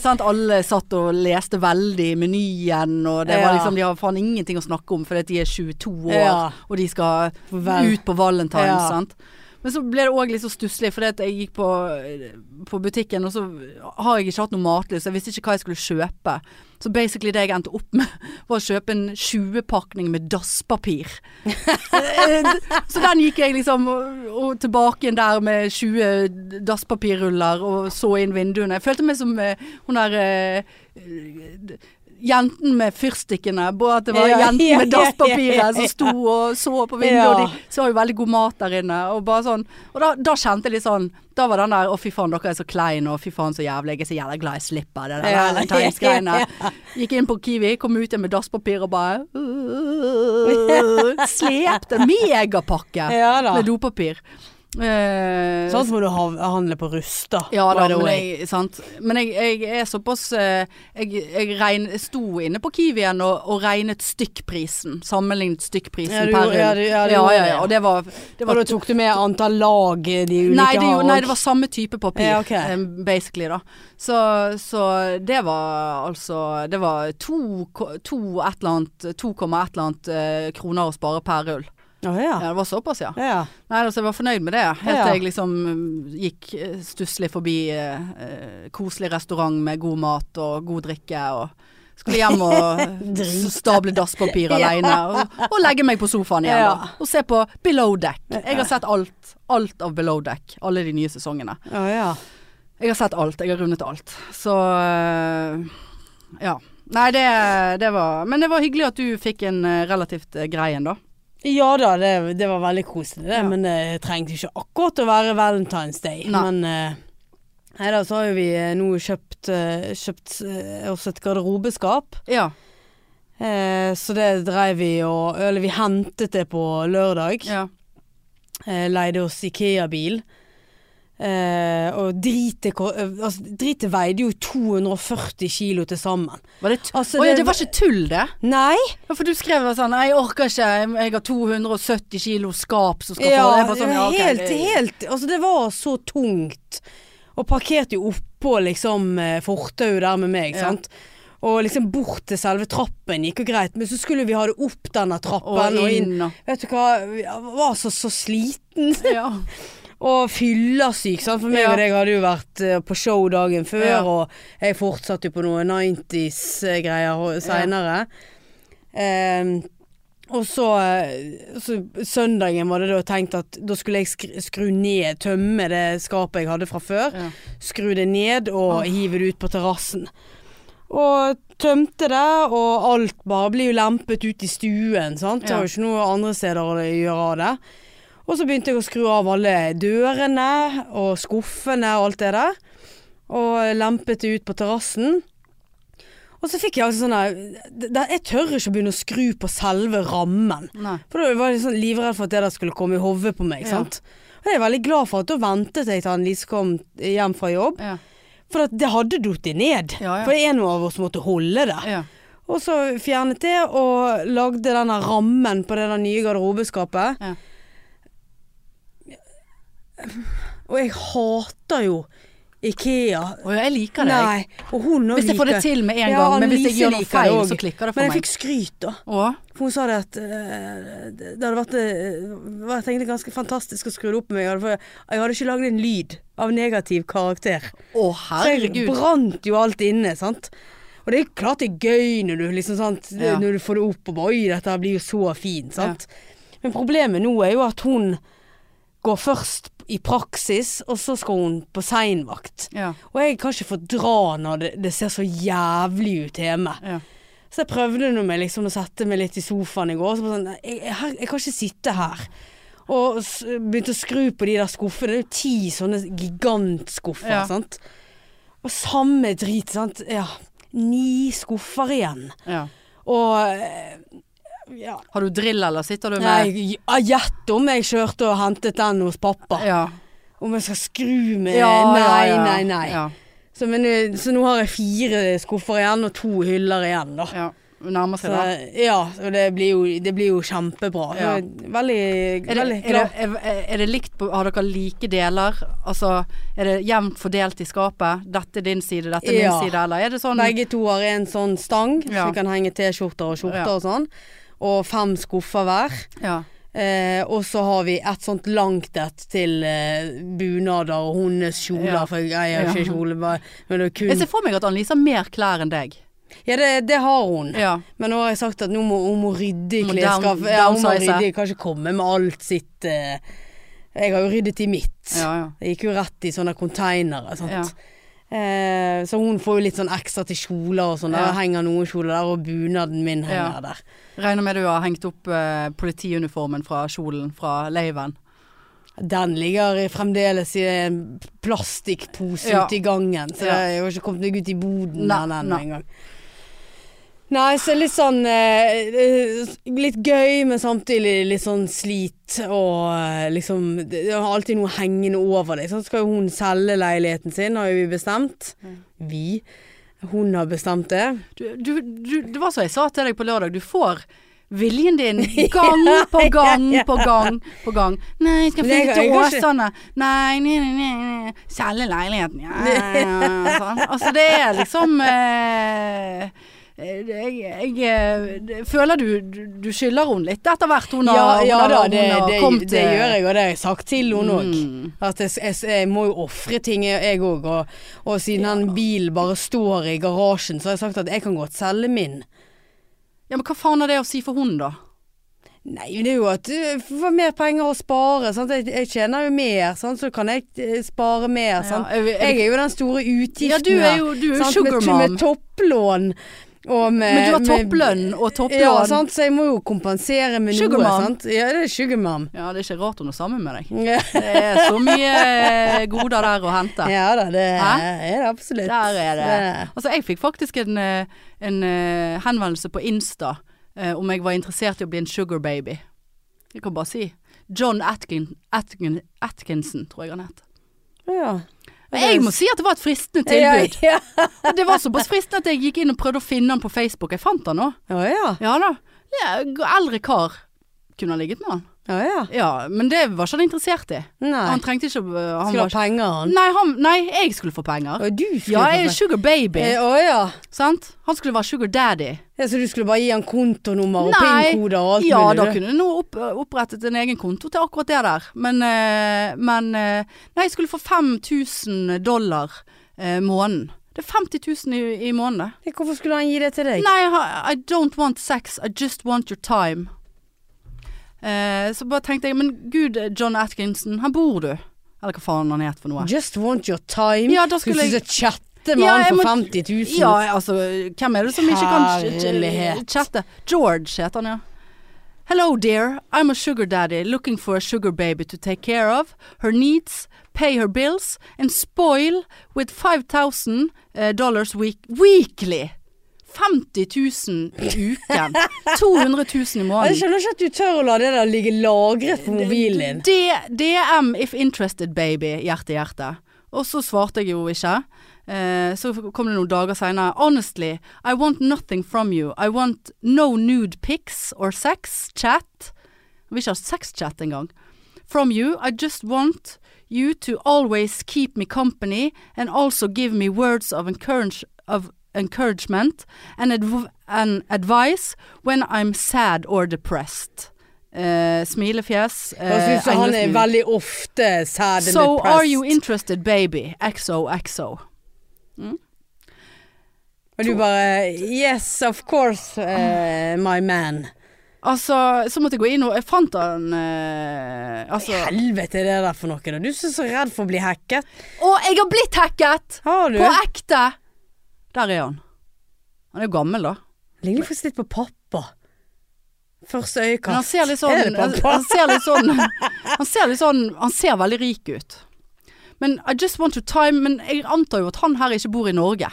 [SPEAKER 1] sant? Alle satt og leste veldig menyen, og det var
[SPEAKER 2] Ja.
[SPEAKER 1] liksom De har faen ingenting å snakke om fordi at de er 22 år,
[SPEAKER 2] Ja.
[SPEAKER 1] og de skal
[SPEAKER 2] Vel.
[SPEAKER 1] ut på Valentine's.
[SPEAKER 2] Ja.
[SPEAKER 1] Sant? Men så ble det òg litt så stusslig, fordi at jeg gikk på, på butikken, og så har jeg ikke hatt noe matlyst. Jeg visste ikke hva jeg skulle kjøpe. Så basically det jeg endte opp med, <laughs> var å kjøpe en 20-pakning med dasspapir. Eh, så den gikk jeg liksom og, og tilbake igjen der med 20 dasspapirruller og så inn vinduene. Jeg følte meg som eh, hun der eh, eh, Jenten med fyrstikkene. Bare at det var
[SPEAKER 2] Ja,
[SPEAKER 1] jenten
[SPEAKER 2] ja,
[SPEAKER 1] med
[SPEAKER 2] ja, ja,
[SPEAKER 1] dasspapiret som
[SPEAKER 2] ja.
[SPEAKER 1] sto og så på vinduet, og
[SPEAKER 2] Ja.
[SPEAKER 1] de så jo veldig god mat der inne. Og, bare sånn. og da, da kjente jeg litt sånn Da var den der 'Å, fy faen, dere er så kleine', og 'fy faen, så jævlig', jeg er så jævla glad jeg slipper det der
[SPEAKER 2] Ja.
[SPEAKER 1] valentinsgreiene.
[SPEAKER 2] <laughs>
[SPEAKER 1] Gikk inn på Kiwi, kom ut igjen med dasspapir og bare Slepte megapakke
[SPEAKER 2] Ja da.
[SPEAKER 1] med dopapir. Eh,
[SPEAKER 2] Sånn må du hav- handle på Rust, da.
[SPEAKER 1] ja da,
[SPEAKER 2] by the
[SPEAKER 1] men
[SPEAKER 2] way.
[SPEAKER 1] jeg, sant? Men jeg, jeg er såpass eh, Jeg, jeg regn, jeg sto inne på Kiwien og, og regnet stykkprisen. Sammenlignet stykkprisen
[SPEAKER 2] Ja, du
[SPEAKER 1] per
[SPEAKER 2] gjorde- ja,
[SPEAKER 1] rull.
[SPEAKER 2] du- ja, du
[SPEAKER 1] ja,
[SPEAKER 2] gjorde
[SPEAKER 1] ja,
[SPEAKER 2] det,
[SPEAKER 1] ja,
[SPEAKER 2] ja.
[SPEAKER 1] Og det var, det
[SPEAKER 2] og
[SPEAKER 1] var
[SPEAKER 2] da tok du med antall lag eh, de ulike
[SPEAKER 1] nei det,
[SPEAKER 2] har,
[SPEAKER 1] nei,
[SPEAKER 2] og-
[SPEAKER 1] det var samme type papir,
[SPEAKER 2] Ja, ok.
[SPEAKER 1] eh, basically, da. Så, så det var altså Det var to, ko- to et eller annet 2, et eller annet eh, kroner å spare per rull.
[SPEAKER 2] Å, ja.
[SPEAKER 1] Ja, det var såpass, ja.
[SPEAKER 2] Ja.
[SPEAKER 1] Nei, altså jeg var fornøyd med det. Helt
[SPEAKER 2] Ja.
[SPEAKER 1] til jeg liksom mm, gikk eh, stusslig forbi eh, eh, koselig restaurant med god mat og god drikke og skulle hjem og
[SPEAKER 2] Drite.
[SPEAKER 1] s- stable dasspapir alene og, og legge meg på sofaen igjen
[SPEAKER 2] Ja.
[SPEAKER 1] da, og se på Below Deck. Jeg har sett alt. Alt av Below Deck. Alle de nye sesongene.
[SPEAKER 2] Å, ja.
[SPEAKER 1] Jeg har sett alt. Jeg har rundet alt. Så eh, ja. Nei, det, det var Men det var hyggelig at du fikk en eh, relativt eh, grei en, da.
[SPEAKER 2] Ja da, det, det var veldig koselig det,
[SPEAKER 1] Ja.
[SPEAKER 2] men det trengte ikke akkurat å være Valentine's Day.
[SPEAKER 1] Nei.
[SPEAKER 2] Men eh, nei da, så har jo vi eh, nå kjøpt, eh, kjøpt eh, oss et garderobeskap.
[SPEAKER 1] Ja.
[SPEAKER 2] Eh, så det dreiv vi og Eller vi hentet det på lørdag.
[SPEAKER 1] ja.
[SPEAKER 2] Eh, leide oss Ikea-bil. Eh, og dritet ko- eh, altså, Dritet veide jo 240 kilo til sammen.
[SPEAKER 1] Var det tull?
[SPEAKER 2] Altså,
[SPEAKER 1] Å ja,
[SPEAKER 2] det-
[SPEAKER 1] det var ikke tull, det?
[SPEAKER 2] Nei!
[SPEAKER 1] Ja, for du skrev bare sånn 'Nei, jeg orker ikke, jeg har 270 kilo skap som skal
[SPEAKER 2] ja,
[SPEAKER 1] få det'. Jeg bare sånn, ja, ok,
[SPEAKER 2] helt,
[SPEAKER 1] det-
[SPEAKER 2] helt Altså, det var så tungt. Og parkerte jo oppå liksom eh, fortauet der med meg,
[SPEAKER 1] Ja.
[SPEAKER 2] sant. Og liksom bort til selve trappen gikk jo greit, men så skulle vi ha det opp denne trappen og inn.
[SPEAKER 1] og
[SPEAKER 2] Vet du hva, jeg var så, så sliten
[SPEAKER 1] <laughs> Ja.
[SPEAKER 2] og fyllesyk, sant. For meg
[SPEAKER 1] Ja.
[SPEAKER 2] og deg hadde jo vært eh, på show dagen før,
[SPEAKER 1] Ja.
[SPEAKER 2] og jeg fortsatte jo på noe 90s-greier seinere. Ehm, og så, eh, så søndagen var det da tenkt at da skulle jeg skru, skru ned, tømme det skapet jeg hadde fra før.
[SPEAKER 1] Ja.
[SPEAKER 2] Skru det ned og
[SPEAKER 1] Åh.
[SPEAKER 2] hive det ut på terrassen. Og tømte det, og alt bare blir jo lempet ut i stuen, sant. Det
[SPEAKER 1] Ja.
[SPEAKER 2] var jo ikke noe andre steder å gjøre av det. Og så begynte jeg å skru av alle dørene og skuffene og alt det der. Og lempet det ut på terrassen. Og så fikk jeg altså sånn der det- det- Jeg tør ikke å begynne å skru på selve rammen.
[SPEAKER 1] Nei.
[SPEAKER 2] For da var jeg sånn livredd for at det der skulle komme i hodet på meg.
[SPEAKER 1] Ja.
[SPEAKER 2] sant? Og jeg er veldig glad for at da ventet jeg til han Lise kom hjem fra jobb.
[SPEAKER 1] Ja.
[SPEAKER 2] For at det hadde datt ned.
[SPEAKER 1] Ja, ja.
[SPEAKER 2] For det er noe av oss som måtte holde det.
[SPEAKER 1] Ja.
[SPEAKER 2] Og så fjernet det, og lagde denne rammen på det der nye garderobeskapet.
[SPEAKER 1] Ja.
[SPEAKER 2] Og jeg hater jo Ikea.
[SPEAKER 1] Og jeg liker det. jeg.
[SPEAKER 2] Nei, og hun nå
[SPEAKER 1] Hvis jeg får det til med en
[SPEAKER 2] Ja,
[SPEAKER 1] gang, men hvis jeg
[SPEAKER 2] Annelise
[SPEAKER 1] gjør noe
[SPEAKER 2] liker det
[SPEAKER 1] feil,
[SPEAKER 2] også.
[SPEAKER 1] så klikker det for
[SPEAKER 2] Men jeg
[SPEAKER 1] meg.
[SPEAKER 2] fikk skryt, da.
[SPEAKER 1] Å?
[SPEAKER 2] For hun sa det at eh, det hadde vært, eh, vært egentlig ganske fantastisk å skru det opp med meg. Jeg hadde, jeg hadde ikke lagd en lyd av negativ karakter.
[SPEAKER 1] Å,
[SPEAKER 2] Så jeg
[SPEAKER 1] herregud.
[SPEAKER 2] brant jo alt inne, sant. Og det er jo klart det er gøy når du liksom sant,
[SPEAKER 1] Ja.
[SPEAKER 2] Når du får det opp og bare Oi, dette her blir jo så fint, sant. Men problemet nå er jo at hun går først i praksis, og så skal hun på seinvakt.
[SPEAKER 1] Ja.
[SPEAKER 2] Og jeg kan ikke fordra når det, det ser så jævlig ut hjemme.
[SPEAKER 1] Ja.
[SPEAKER 2] Så jeg prøvde nå med liksom å sette meg litt i sofaen i går. Så bare sånn, jeg, jeg, her, jeg kan ikke sitte her. Og s- begynte å skru på de der skuffene. Det er jo ti sånne gigantskuffer.
[SPEAKER 1] Ja.
[SPEAKER 2] sant? Og samme drit. sant? Ja, Ni skuffer igjen.
[SPEAKER 1] Ja.
[SPEAKER 2] Og eh, ja.
[SPEAKER 1] Har du drill, eller sitter du med
[SPEAKER 2] Nei, ja, gjett om jeg kjørte og hentet den hos pappa.
[SPEAKER 1] Ja.
[SPEAKER 2] Om jeg skal skru med
[SPEAKER 1] Ja,
[SPEAKER 2] Nei,
[SPEAKER 1] ja, ja.
[SPEAKER 2] nei, nei.
[SPEAKER 1] Ja,
[SPEAKER 2] Så, men, eh, så nå har jeg fire skuffer igjen, og to hyller igjen, da.
[SPEAKER 1] ja. Nærmer
[SPEAKER 2] Så,
[SPEAKER 1] seg det.
[SPEAKER 2] ja, og det blir jo, det blir jo kjempebra.
[SPEAKER 1] Ja.
[SPEAKER 2] Jeg er Veldig,
[SPEAKER 1] Er det,
[SPEAKER 2] veldig
[SPEAKER 1] er, det,
[SPEAKER 2] glad.
[SPEAKER 1] er, er det likt på Har dere like deler? Altså, er det jevnt fordelt i skapet? Dette er din side, dette er min
[SPEAKER 2] Ja.
[SPEAKER 1] side, eller er det sånn
[SPEAKER 2] Begge to har en sånn stang
[SPEAKER 1] Ja.
[SPEAKER 2] som vi kan henge T-skjorter og skjorter
[SPEAKER 1] Ja.
[SPEAKER 2] og sånn. Og fem skuffer hver.
[SPEAKER 1] Ja.
[SPEAKER 2] Eh, og så har vi et sånt langt et til eh, bunader og hennes kjoler,
[SPEAKER 1] Ja.
[SPEAKER 2] for jeg eier
[SPEAKER 1] Ja.
[SPEAKER 2] ikke kjole. bare- Men det, er
[SPEAKER 1] Jeg ser
[SPEAKER 2] kun,
[SPEAKER 1] for meg at Annelise har mer klær enn deg.
[SPEAKER 2] ja, det, det har hun.
[SPEAKER 1] Ja.
[SPEAKER 2] Men nå har jeg sagt at nå må hun må rydde i
[SPEAKER 1] Må down-
[SPEAKER 2] klesskapet. Ja, hun må
[SPEAKER 1] downsize.
[SPEAKER 2] rydde, i- kan ikke komme med alt sitt eh, Jeg har jo ryddet i mitt.
[SPEAKER 1] ja, ja.
[SPEAKER 2] Det gikk jo rett i sånne konteinere. sant?
[SPEAKER 1] Ja.
[SPEAKER 2] Eh, så hun får jo litt sånn ekstra til kjoler og sånn.
[SPEAKER 1] Ja.
[SPEAKER 2] Der henger noen kjoler der, og bunaden min
[SPEAKER 1] Ja.
[SPEAKER 2] henger der.
[SPEAKER 1] Regner med du har hengt opp eh, politiuniformen fra kjolen fra leiven.
[SPEAKER 2] Den ligger i- fremdeles i en plastikkpose
[SPEAKER 1] Ja.
[SPEAKER 2] ute i gangen, så
[SPEAKER 1] Ja.
[SPEAKER 2] jeg har ikke kommet meg ut i boden
[SPEAKER 1] Nei,
[SPEAKER 2] av den
[SPEAKER 1] nei.
[SPEAKER 2] engang. Nei, så litt sånn eh, eh, Litt gøy, men samtidig litt sånn slit og eh, liksom Det det er alltid noe hengende over deg. Så skal jo hun selge leiligheten sin, har jo vi bestemt.
[SPEAKER 1] Mm.
[SPEAKER 2] Vi. Hun har bestemt det.
[SPEAKER 1] Du, du, du, det var som jeg sa til deg på lørdag, du får viljen din
[SPEAKER 2] <laughs>
[SPEAKER 1] gang på gang på gang på gang. Nei, jeg skal
[SPEAKER 2] Men jeg-
[SPEAKER 1] flytte til
[SPEAKER 2] jeg kan ikke-
[SPEAKER 1] Åsane. Nei, nei, nei, nei. Selge leiligheten. Ja, ja, ja, sånn. Altså det er liksom eh, jeg, jeg, eh, føler du, du, du skylder henne litt etter hvert hun
[SPEAKER 2] Ja,
[SPEAKER 1] har,
[SPEAKER 2] ja
[SPEAKER 1] hun har-
[SPEAKER 2] da,
[SPEAKER 1] hun
[SPEAKER 2] det,
[SPEAKER 1] har
[SPEAKER 2] det,
[SPEAKER 1] kommet
[SPEAKER 2] det
[SPEAKER 1] til-
[SPEAKER 2] gjør jeg, og det har jeg sagt til henne òg.
[SPEAKER 1] Mm.
[SPEAKER 2] At jeg, jeg, jeg må jo ofre ting, jeg òg. Og, og siden den bilen bare står i garasjen, så har jeg sagt at jeg kan godt selge min.
[SPEAKER 1] Ja, men hva faen har det å si for hun da?
[SPEAKER 2] Nei, men det er jo at du får mer penger å spare. Sant? Jeg, jeg tjener jo mer, sant? så kan jeg eh, spare mer. Sant?
[SPEAKER 1] Ja, er vi- er
[SPEAKER 2] Jeg er jo den store utgiften
[SPEAKER 1] Ja, du er jo- du er jo
[SPEAKER 2] sant?
[SPEAKER 1] sugar
[SPEAKER 2] Med-
[SPEAKER 1] mom.
[SPEAKER 2] Med topplån. Og med,
[SPEAKER 1] Men du har
[SPEAKER 2] med-
[SPEAKER 1] topplønn og topplån.
[SPEAKER 2] Ja, sant? så jeg må jo kompensere med
[SPEAKER 1] Sugar
[SPEAKER 2] noe.
[SPEAKER 1] mom.
[SPEAKER 2] Sant? Ja, det er sugarmam.
[SPEAKER 1] Ja, det er ikke rart hun er sammen med deg.
[SPEAKER 2] Ja.
[SPEAKER 1] Det er så mye eh, goder der å hente.
[SPEAKER 2] Ja da, det
[SPEAKER 1] Hæ?
[SPEAKER 2] er det absolutt.
[SPEAKER 1] Der er det. Altså, jeg fikk faktisk en, eh, en eh, henvendelse på Insta eh, om jeg var interessert i å bli en sugar baby. Jeg kan bare si. John Atkin, Atkin, Atkinson, tror jeg han het.
[SPEAKER 2] Ja.
[SPEAKER 1] Men Jeg må si at det var et fristende tilbud.
[SPEAKER 2] Ja,
[SPEAKER 1] Og Det var såpass fristende at jeg gikk inn og prøvde å finne han på Facebook. Jeg fant han nå.
[SPEAKER 2] ja. Å ja.
[SPEAKER 1] Ja da. Ja, g- Eldre kar. kunne ha ligget med han.
[SPEAKER 2] Ja, ja.
[SPEAKER 1] Ja, men det var ikke han interessert i.
[SPEAKER 2] Nei.
[SPEAKER 1] Han trengte ikke øh, han var
[SPEAKER 2] Skulle ha
[SPEAKER 1] ikke-
[SPEAKER 2] penger, han.
[SPEAKER 1] Nei, han, nei, jeg skulle få penger.
[SPEAKER 2] Og du skulle
[SPEAKER 1] Ja,
[SPEAKER 2] få
[SPEAKER 1] jeg er
[SPEAKER 2] penger.
[SPEAKER 1] sugar baby.
[SPEAKER 2] Eh, Å ja.
[SPEAKER 1] Sant? Han skulle være sugar daddy.
[SPEAKER 2] ja. Så du skulle bare gi han kontonummer og
[SPEAKER 1] Nei.
[SPEAKER 2] PIN-koder og alt
[SPEAKER 1] Ja,
[SPEAKER 2] mulig?
[SPEAKER 1] da
[SPEAKER 2] du.
[SPEAKER 1] kunne du nå opp, opprettet en egen konto til akkurat det der. Men, eh, men eh, Nei, jeg skulle få 5000 dollar eh, måneden. Det er 50 000 i, i måneden. det.
[SPEAKER 2] Hvorfor skulle han gi det til deg?
[SPEAKER 1] Nei, jeg har- I don't want sex, I just want your time. Eh, så bare tenkte jeg, men gud, eh, John Atkinson, her bor du. Eller hva faen han het for noe.
[SPEAKER 2] Just want your time.
[SPEAKER 1] Ja, da
[SPEAKER 2] Skulle
[SPEAKER 1] skulle
[SPEAKER 2] du
[SPEAKER 1] jeg
[SPEAKER 2] sitte og chatte med
[SPEAKER 1] Ja,
[SPEAKER 2] han
[SPEAKER 1] jeg
[SPEAKER 2] for
[SPEAKER 1] må-
[SPEAKER 2] 50 000?
[SPEAKER 1] Ja, altså, hvem er det som ikke kan ch-
[SPEAKER 2] Herlighet.
[SPEAKER 1] ch- chatte? George heter han, ja. Hello dear, I'm a sugar daddy looking for a sugar baby to take care of her needs, pay her bills and spoil with 5000 eh, dollars week weekly. 50 000 i uken. 200 000 i
[SPEAKER 2] Jeg
[SPEAKER 1] måneden.
[SPEAKER 2] skjønner ikke at du tør å la det der ligge lagret på mobilen din.
[SPEAKER 1] D- DM if interested baby, hjerte hjerte. Og så svarte jeg jo ikke. Eh, så kom det noen dager seinere. Honestly, I want nothing from you. I want no nude pics or sex chat. Jeg vil ikke ha sexchat engang. From you, I just want you to always keep me company and also give me words of, encourage, of encouragement and, adv and advice when I'm sad or depressed. Eh, smilefjes. eh,
[SPEAKER 2] Jeg syns han er
[SPEAKER 1] englesmile.
[SPEAKER 2] veldig ofte sad and
[SPEAKER 1] So are you
[SPEAKER 2] depressed.
[SPEAKER 1] interested baby? XOXO.
[SPEAKER 2] Og du bare Yes, of course,
[SPEAKER 1] Ah.
[SPEAKER 2] eh, my man.
[SPEAKER 1] Altså, så måtte jeg gå inn og Jeg fant han eh, Altså
[SPEAKER 2] Helvete er det der for noe. da. Du er så- så redd for å bli hacket.
[SPEAKER 1] Å, jeg har blitt hacket!
[SPEAKER 2] Har du?
[SPEAKER 1] På ekte! Der er han. Han er jo gammel, da.
[SPEAKER 2] Ligner faktisk litt på pappa. Første
[SPEAKER 1] Men han
[SPEAKER 2] øyekast.
[SPEAKER 1] ser litt sånn
[SPEAKER 2] Er det
[SPEAKER 1] han,
[SPEAKER 2] pappa?
[SPEAKER 1] han ser litt sånn <laughs> Han ser litt sånn Han ser veldig rik ut. Men I just want your time Men jeg antar jo at han her ikke bor i Norge.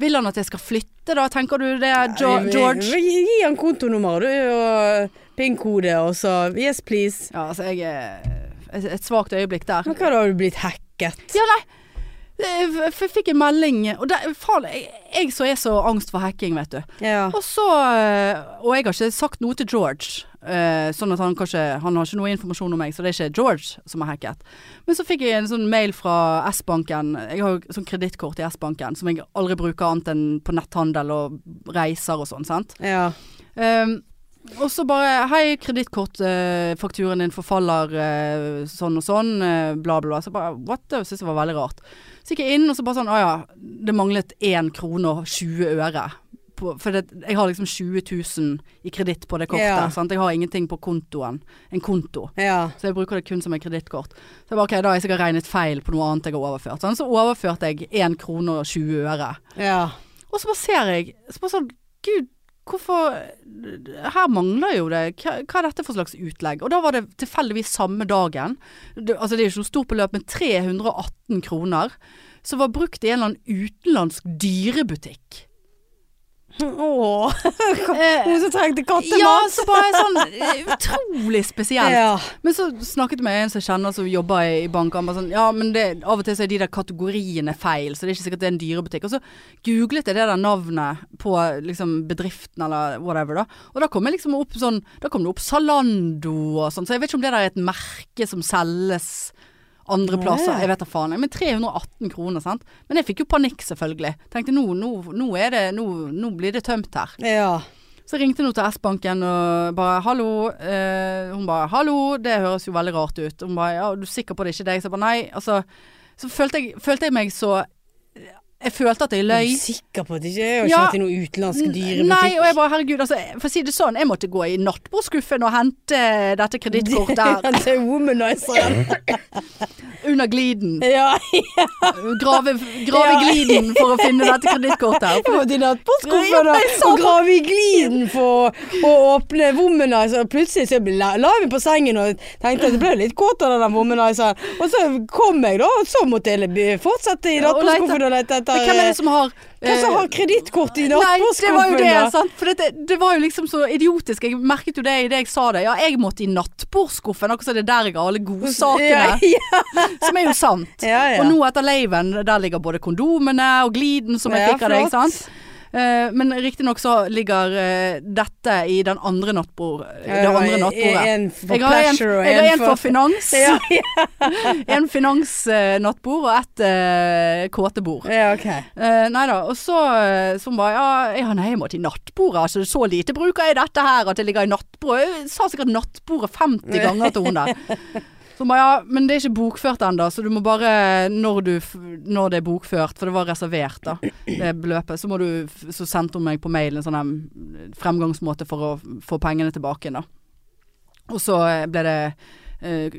[SPEAKER 1] Vil han at jeg skal flytte, da? Tenker du det, Jo-
[SPEAKER 2] Vi- vi-
[SPEAKER 1] George?
[SPEAKER 2] Gi, gi han kontonummer du, og pin-kode, og så Yes, please.
[SPEAKER 1] Ja, altså, jeg er et, et svakt øyeblikk der.
[SPEAKER 2] Men hva da har du blitt hacket?
[SPEAKER 1] Ja, nei. Eh, f- Jeg fikk en melding Og der, faen, jeg, jeg som er så angst for hacking, vet du.
[SPEAKER 2] Ja.
[SPEAKER 1] Og så eh, Og jeg har ikke sagt noe til George. eh, Sånn at han kanskje Han har ikke noe informasjon om meg, så det er ikke George som har hacket. Men så fikk jeg en sånn mail fra S-banken. Jeg har jo sånn kredittkort i S-banken som jeg aldri bruker annet enn på netthandel og reiser og sånn, sant.
[SPEAKER 2] ja.
[SPEAKER 1] Ehm, og så bare Hei, kredittkortfakturen din forfaller eh, sånn og sånn, eh, bla, bla, bla. Så bare What? the- Jeg syntes det var veldig rart. Så gikk jeg inn, og så bare sånn Å ja, det manglet 1 krone og 20 øre. På, for det, jeg har liksom 20 000 i kreditt på det kortet.
[SPEAKER 2] Ja.
[SPEAKER 1] Sant? Jeg har ingenting på kontoen. En konto.
[SPEAKER 2] ja.
[SPEAKER 1] Så jeg bruker det kun som et kredittkort. Så jeg bare, ok, da har jeg sikkert regnet feil på noe annet jeg har overført. Sånn, så overførte jeg 1 krone og 20 øre.
[SPEAKER 2] ja.
[SPEAKER 1] Og så bare ser jeg så bare sånn, Gud, hvorfor Her mangler jo det. Hva, hva er dette for slags utlegg? Og da var det tilfeldigvis samme dagen. Det, altså det er jo ikke noe stort beløp, men 318 kroner. Som var brukt i en eller annen utenlandsk dyrebutikk.
[SPEAKER 2] Åh,
[SPEAKER 1] Eh,
[SPEAKER 2] hun som trengte
[SPEAKER 1] ja,
[SPEAKER 2] kattemat.
[SPEAKER 1] så bare sånn eh, utrolig spesielt.
[SPEAKER 2] <laughs> Ja.
[SPEAKER 1] Men så snakket jeg med en som jeg kjenner som jobber i, i bank. Han bare sånn Ja, men det, av og til så er de der kategoriene feil, så det er ikke sikkert det er en dyrebutikk. Og så googlet jeg det der navnet på liksom bedriften eller whatever, da. Og da kom jeg liksom opp sånn Da kom det opp Zalando og sånn, så jeg vet ikke om det der er et merke som selges andre
[SPEAKER 2] Nei.
[SPEAKER 1] plasser. Jeg vet da faen. Men 318 kroner, sant. Men jeg fikk jo panikk, selvfølgelig. Tenkte nå, nå, nå er det Nå, nå blir det tømt her.
[SPEAKER 2] Ja.
[SPEAKER 1] Så ringte hun til S-banken og bare 'hallo'. Eh, hun bare 'hallo, det høres jo veldig rart ut'. Hun bare 'ja, er du sikker på det er ikke deg?' Så jeg bare nei. Altså, så følte jeg, følte jeg meg så Jeg følte at jeg
[SPEAKER 2] Er
[SPEAKER 1] løy.
[SPEAKER 2] du sikker på at det ikke jeg har ikke
[SPEAKER 1] Ja.
[SPEAKER 2] vært i noen utenlandsk
[SPEAKER 1] Nei, og
[SPEAKER 2] dyrebutikk?
[SPEAKER 1] jeg bare herregud, altså, for å si det sånn, jeg måtte gå i nattbordskuffen og hente dette
[SPEAKER 2] <laughs>
[SPEAKER 1] kredittkortet her
[SPEAKER 2] Det er womanizeren.
[SPEAKER 1] under gliden.
[SPEAKER 2] Ja,
[SPEAKER 1] Grave, grave
[SPEAKER 2] Ja.
[SPEAKER 1] gliden for å finne dette kredittkortet
[SPEAKER 2] <laughs>
[SPEAKER 1] her.
[SPEAKER 2] jeg måtte i nattbordskuffen
[SPEAKER 1] Ja, sånn.
[SPEAKER 2] og,
[SPEAKER 1] jeg sa
[SPEAKER 2] og grave i gliden for å- å åpne womanizer. Og Plutselig så ble- la la jeg meg på sengen og tenkte at jeg ble litt kåt av den womanizeren. Og så kom jeg da, og så måtte jeg be- fortsette i
[SPEAKER 1] Ja, og lete.
[SPEAKER 2] nattbordskuffen og lete
[SPEAKER 1] Men
[SPEAKER 2] etter eh,
[SPEAKER 1] hvem er det som har eh,
[SPEAKER 2] Hvem som har kredittkort
[SPEAKER 1] Nei,
[SPEAKER 2] i
[SPEAKER 1] det
[SPEAKER 2] nattbordskuffen?
[SPEAKER 1] var jo det,
[SPEAKER 2] da?
[SPEAKER 1] sant. For det, det var jo liksom så idiotisk. Jeg merket jo det i det jeg sa det. Ja, jeg måtte i nattbordskuffen, akkurat som det er der jeg har alle
[SPEAKER 2] <laughs> Ja,
[SPEAKER 1] godsakene.
[SPEAKER 2] ja,
[SPEAKER 1] <laughs> Som er jo sant.
[SPEAKER 2] ja, ja.
[SPEAKER 1] Og nå etter laven, der ligger både kondomene og gliden som jeg
[SPEAKER 2] Ja,
[SPEAKER 1] fikk av deg,
[SPEAKER 2] flott.
[SPEAKER 1] sant. Eh, men riktignok så ligger eh, dette i den andre nattbord, det
[SPEAKER 2] var
[SPEAKER 1] andre nattbordet.
[SPEAKER 2] En for
[SPEAKER 1] Jeg har en,
[SPEAKER 2] pleasure og
[SPEAKER 1] jeg har
[SPEAKER 2] en
[SPEAKER 1] en for finans,
[SPEAKER 2] ja,
[SPEAKER 1] <laughs> en finansnattbord og et eh, kåtebord.
[SPEAKER 2] ja, ok.
[SPEAKER 1] Eh, nei da. Og så, eh, så bare ja, ja, nei, jeg må til nattbordet. Altså, så lite bruker jeg dette her at jeg ligger i nattbordet. Jeg sa sikkert nattbordet 50 ganger til hun der. Så bare ja, men det er ikke bokført ennå, så du må bare når, du, f- når det er bokført, for det var reservert, da, det beløpet, så, må du, f- så sendte hun meg på mail en sånn her fremgangsmåte for å f- få pengene tilbake igjen, da. Og så eh, ble det eh,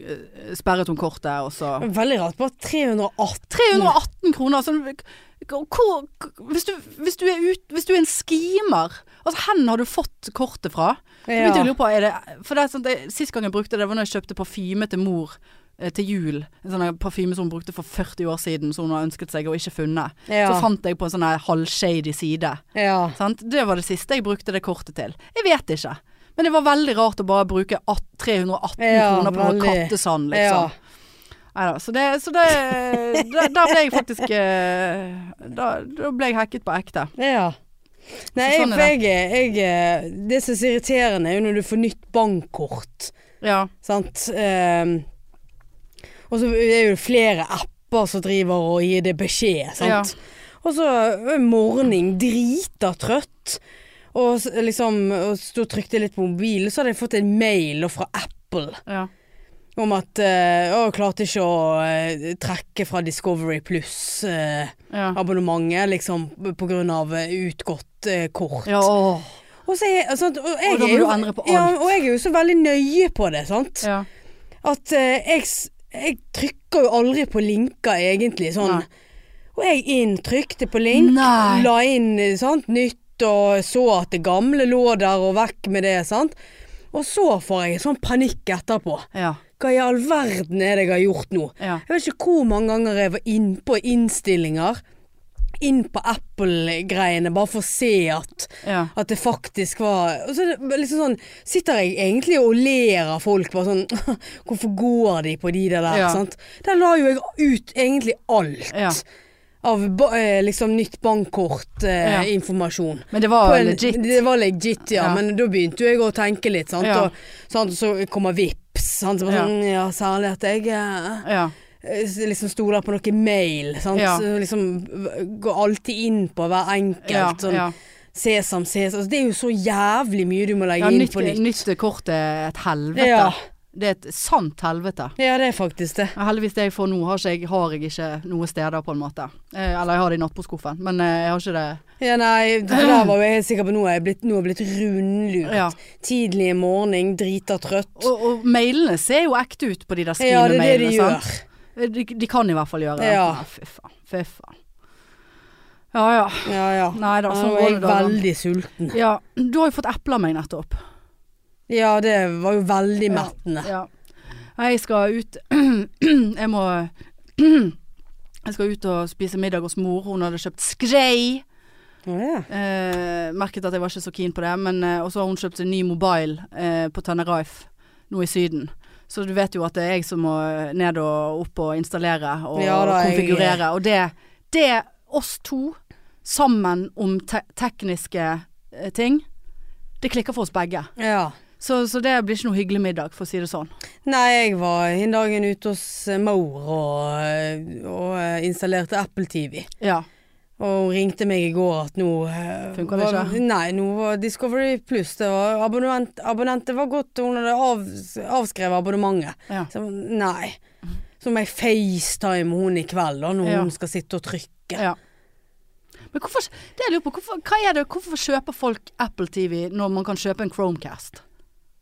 [SPEAKER 1] Sperret hun kortet, og så
[SPEAKER 2] Veldig rart. Bare 318.
[SPEAKER 1] 318 kroner. Sånn, k- hvor, k- hvis, du, hvis, du er ut, hvis du er en skimer altså, Hen har du fått kortet fra? Så begynte jeg å lure på, er det, for det er sånn, det, Sist gang jeg brukte det, var når jeg kjøpte parfyme til mor eh, til jul. En sånn her parfyme som hun brukte for 40 år siden, som hun har ønsket seg og ikke funnet.
[SPEAKER 2] Ja.
[SPEAKER 1] Så fant jeg på en sånn her halvshady side.
[SPEAKER 2] Ja.
[SPEAKER 1] Sant? Det var det siste jeg brukte det kortet til. Jeg vet ikke. Men det var veldig rart å bare bruke at- 318
[SPEAKER 2] Ja,
[SPEAKER 1] kroner på noe
[SPEAKER 2] veldig.
[SPEAKER 1] kattesand, liksom. Neida, så det, så det da, da ble jeg faktisk eh, da, da ble jeg hacket på ekte.
[SPEAKER 2] Ja. ja. Nei,
[SPEAKER 1] Så sånn er
[SPEAKER 2] jeg, jeg, jeg Det som er så irriterende, er jo når du får nytt bankkort.
[SPEAKER 1] Ja.
[SPEAKER 2] Sant. Ehm, og så er jo det flere apper som driver og gir det beskjed, sant. Og så er morgen drita trøtt. Og s- liksom og sto og trykte litt på mobilen, så hadde jeg fått en mail fra Apple
[SPEAKER 1] ja.
[SPEAKER 2] om at eh, Å, klarte ikke å eh, trekke fra Discovery Pluss eh,
[SPEAKER 1] Ja.
[SPEAKER 2] abonnementet, liksom, på grunn av eh, utgått eh, kort.
[SPEAKER 1] ja åh.
[SPEAKER 2] Og, så er, altså, og, jeg
[SPEAKER 1] Og da må
[SPEAKER 2] er jo,
[SPEAKER 1] du endre på
[SPEAKER 2] Ja,
[SPEAKER 1] alt.
[SPEAKER 2] og jeg er jo så veldig nøye på det, sant.
[SPEAKER 1] Ja.
[SPEAKER 2] At eh, jeg, s- jeg trykker jo aldri på linker, egentlig, sånn.
[SPEAKER 1] Nei.
[SPEAKER 2] Og jeg inn trykte på link,
[SPEAKER 1] Nei.
[SPEAKER 2] la inn eh, sant, nytt og så at det gamle lå der og vekk med det, sant. Og så får jeg sånn panikk etterpå.
[SPEAKER 1] Ja.
[SPEAKER 2] Hva i all verden er det jeg har gjort nå?
[SPEAKER 1] Ja.
[SPEAKER 2] Jeg vet ikke hvor mange ganger jeg var inn på innstillinger, inn på Apple-greiene, bare for å se at,
[SPEAKER 1] Ja.
[SPEAKER 2] at det faktisk var og så er det liksom sånn, Sitter jeg egentlig og ler av folk, bare sånn <laughs> Hvorfor går de på de der der?
[SPEAKER 1] Ja.
[SPEAKER 2] Sant? Der la jo jeg ut egentlig alt
[SPEAKER 1] Ja.
[SPEAKER 2] av ba, eh, liksom nytt
[SPEAKER 1] Ja.
[SPEAKER 2] bankkortinformasjon.
[SPEAKER 1] Men det
[SPEAKER 2] På
[SPEAKER 1] var
[SPEAKER 2] en-
[SPEAKER 1] legit.
[SPEAKER 2] Det var legit, ja.
[SPEAKER 1] Ja.
[SPEAKER 2] Men da begynte jo jeg å tenke litt, sant.
[SPEAKER 1] Ja.
[SPEAKER 2] Og, sant? Så kommer Vipps, sant. Så bare
[SPEAKER 1] Ja.
[SPEAKER 2] sånn, ja, særlig at jeg eh,
[SPEAKER 1] Ja.
[SPEAKER 2] eh, liksom sto der på noe mail, sant.
[SPEAKER 1] Ja.
[SPEAKER 2] Så liksom v- går alltid inn på hver enkelt.
[SPEAKER 1] Ja.
[SPEAKER 2] sånn
[SPEAKER 1] ja.
[SPEAKER 2] sesam, sesam. Altså, det er jo så jævlig mye du må
[SPEAKER 1] ja
[SPEAKER 2] legge inn
[SPEAKER 1] nytt,
[SPEAKER 2] på nytt.
[SPEAKER 1] nytt kort er et helvete.
[SPEAKER 2] Ja.
[SPEAKER 1] Det er et sant helvete.
[SPEAKER 2] Ja, det er faktisk det.
[SPEAKER 1] Ja, Heldigvis det jeg får nå, har, ikke, jeg- har jeg ikke noe steder, på en måte. Eh, eller jeg har det i nattbordskuffen, men eh, jeg har ikke det
[SPEAKER 2] Ja, nei, det der var jo jeg helt sikker på nå er jeg blitt, nå er jeg blitt rundlurt.
[SPEAKER 1] Ja.
[SPEAKER 2] Tidlig i morgen, drita trøtt.
[SPEAKER 1] Og, og mailene ser jo ekte ut på de der
[SPEAKER 2] Ja, det er det de
[SPEAKER 1] skrivemailene. sant?
[SPEAKER 2] gjør.
[SPEAKER 1] De, de kan i hvert fall gjøre det.
[SPEAKER 2] Ja.
[SPEAKER 1] Nei, Fy faen. Fy faen. Ja ja.
[SPEAKER 2] Ja, ja.
[SPEAKER 1] Nei da,
[SPEAKER 2] Nå
[SPEAKER 1] sånn
[SPEAKER 2] er
[SPEAKER 1] går
[SPEAKER 2] jeg
[SPEAKER 1] det da.
[SPEAKER 2] veldig sulten.
[SPEAKER 1] Ja, du har jo fått eple av meg nettopp.
[SPEAKER 2] Ja, det var jo veldig mettende.
[SPEAKER 1] Ja. Nei, Jeg skal ut <clears throat> Jeg må <clears throat> Jeg skal ut og spise middag hos mor. Hun hadde kjøpt skrei.
[SPEAKER 2] Ja, ja.
[SPEAKER 1] Eh, merket at jeg var ikke så keen på det. Men eh, Og så har hun kjøpt en ny mobile eh, på Tenerife nå i Syden. Så du vet jo at det er jeg som må eh, ned og opp og installere og
[SPEAKER 2] Ja da, jeg-
[SPEAKER 1] konfigurere. Og det, det er oss to sammen om te tekniske eh, ting. Det klikker for oss begge.
[SPEAKER 2] ja.
[SPEAKER 1] Så, så det blir ikke noe hyggelig middag, for å si det sånn.
[SPEAKER 2] Nei, jeg var en dag ute hos eh, Maur og, og eh, installerte Apple TV.
[SPEAKER 1] Ja.
[SPEAKER 2] Og hun ringte meg i går at nå eh,
[SPEAKER 1] Funker det
[SPEAKER 2] var,
[SPEAKER 1] ikke?
[SPEAKER 2] Nei, nå var Discovery Pluss det var abonnement, Abonnentet var godt, og hun hadde av, avskrevet abonnementet.
[SPEAKER 1] Ja.
[SPEAKER 2] Så, nei. Så må jeg facetime hun i kveld da, når
[SPEAKER 1] Ja.
[SPEAKER 2] hun skal sitte og trykke.
[SPEAKER 1] ja. Men hvorfor, det jeg lurer på, hvorfor, hva er det, hvorfor kjøper folk Apple TV når man kan kjøpe en Chromecast?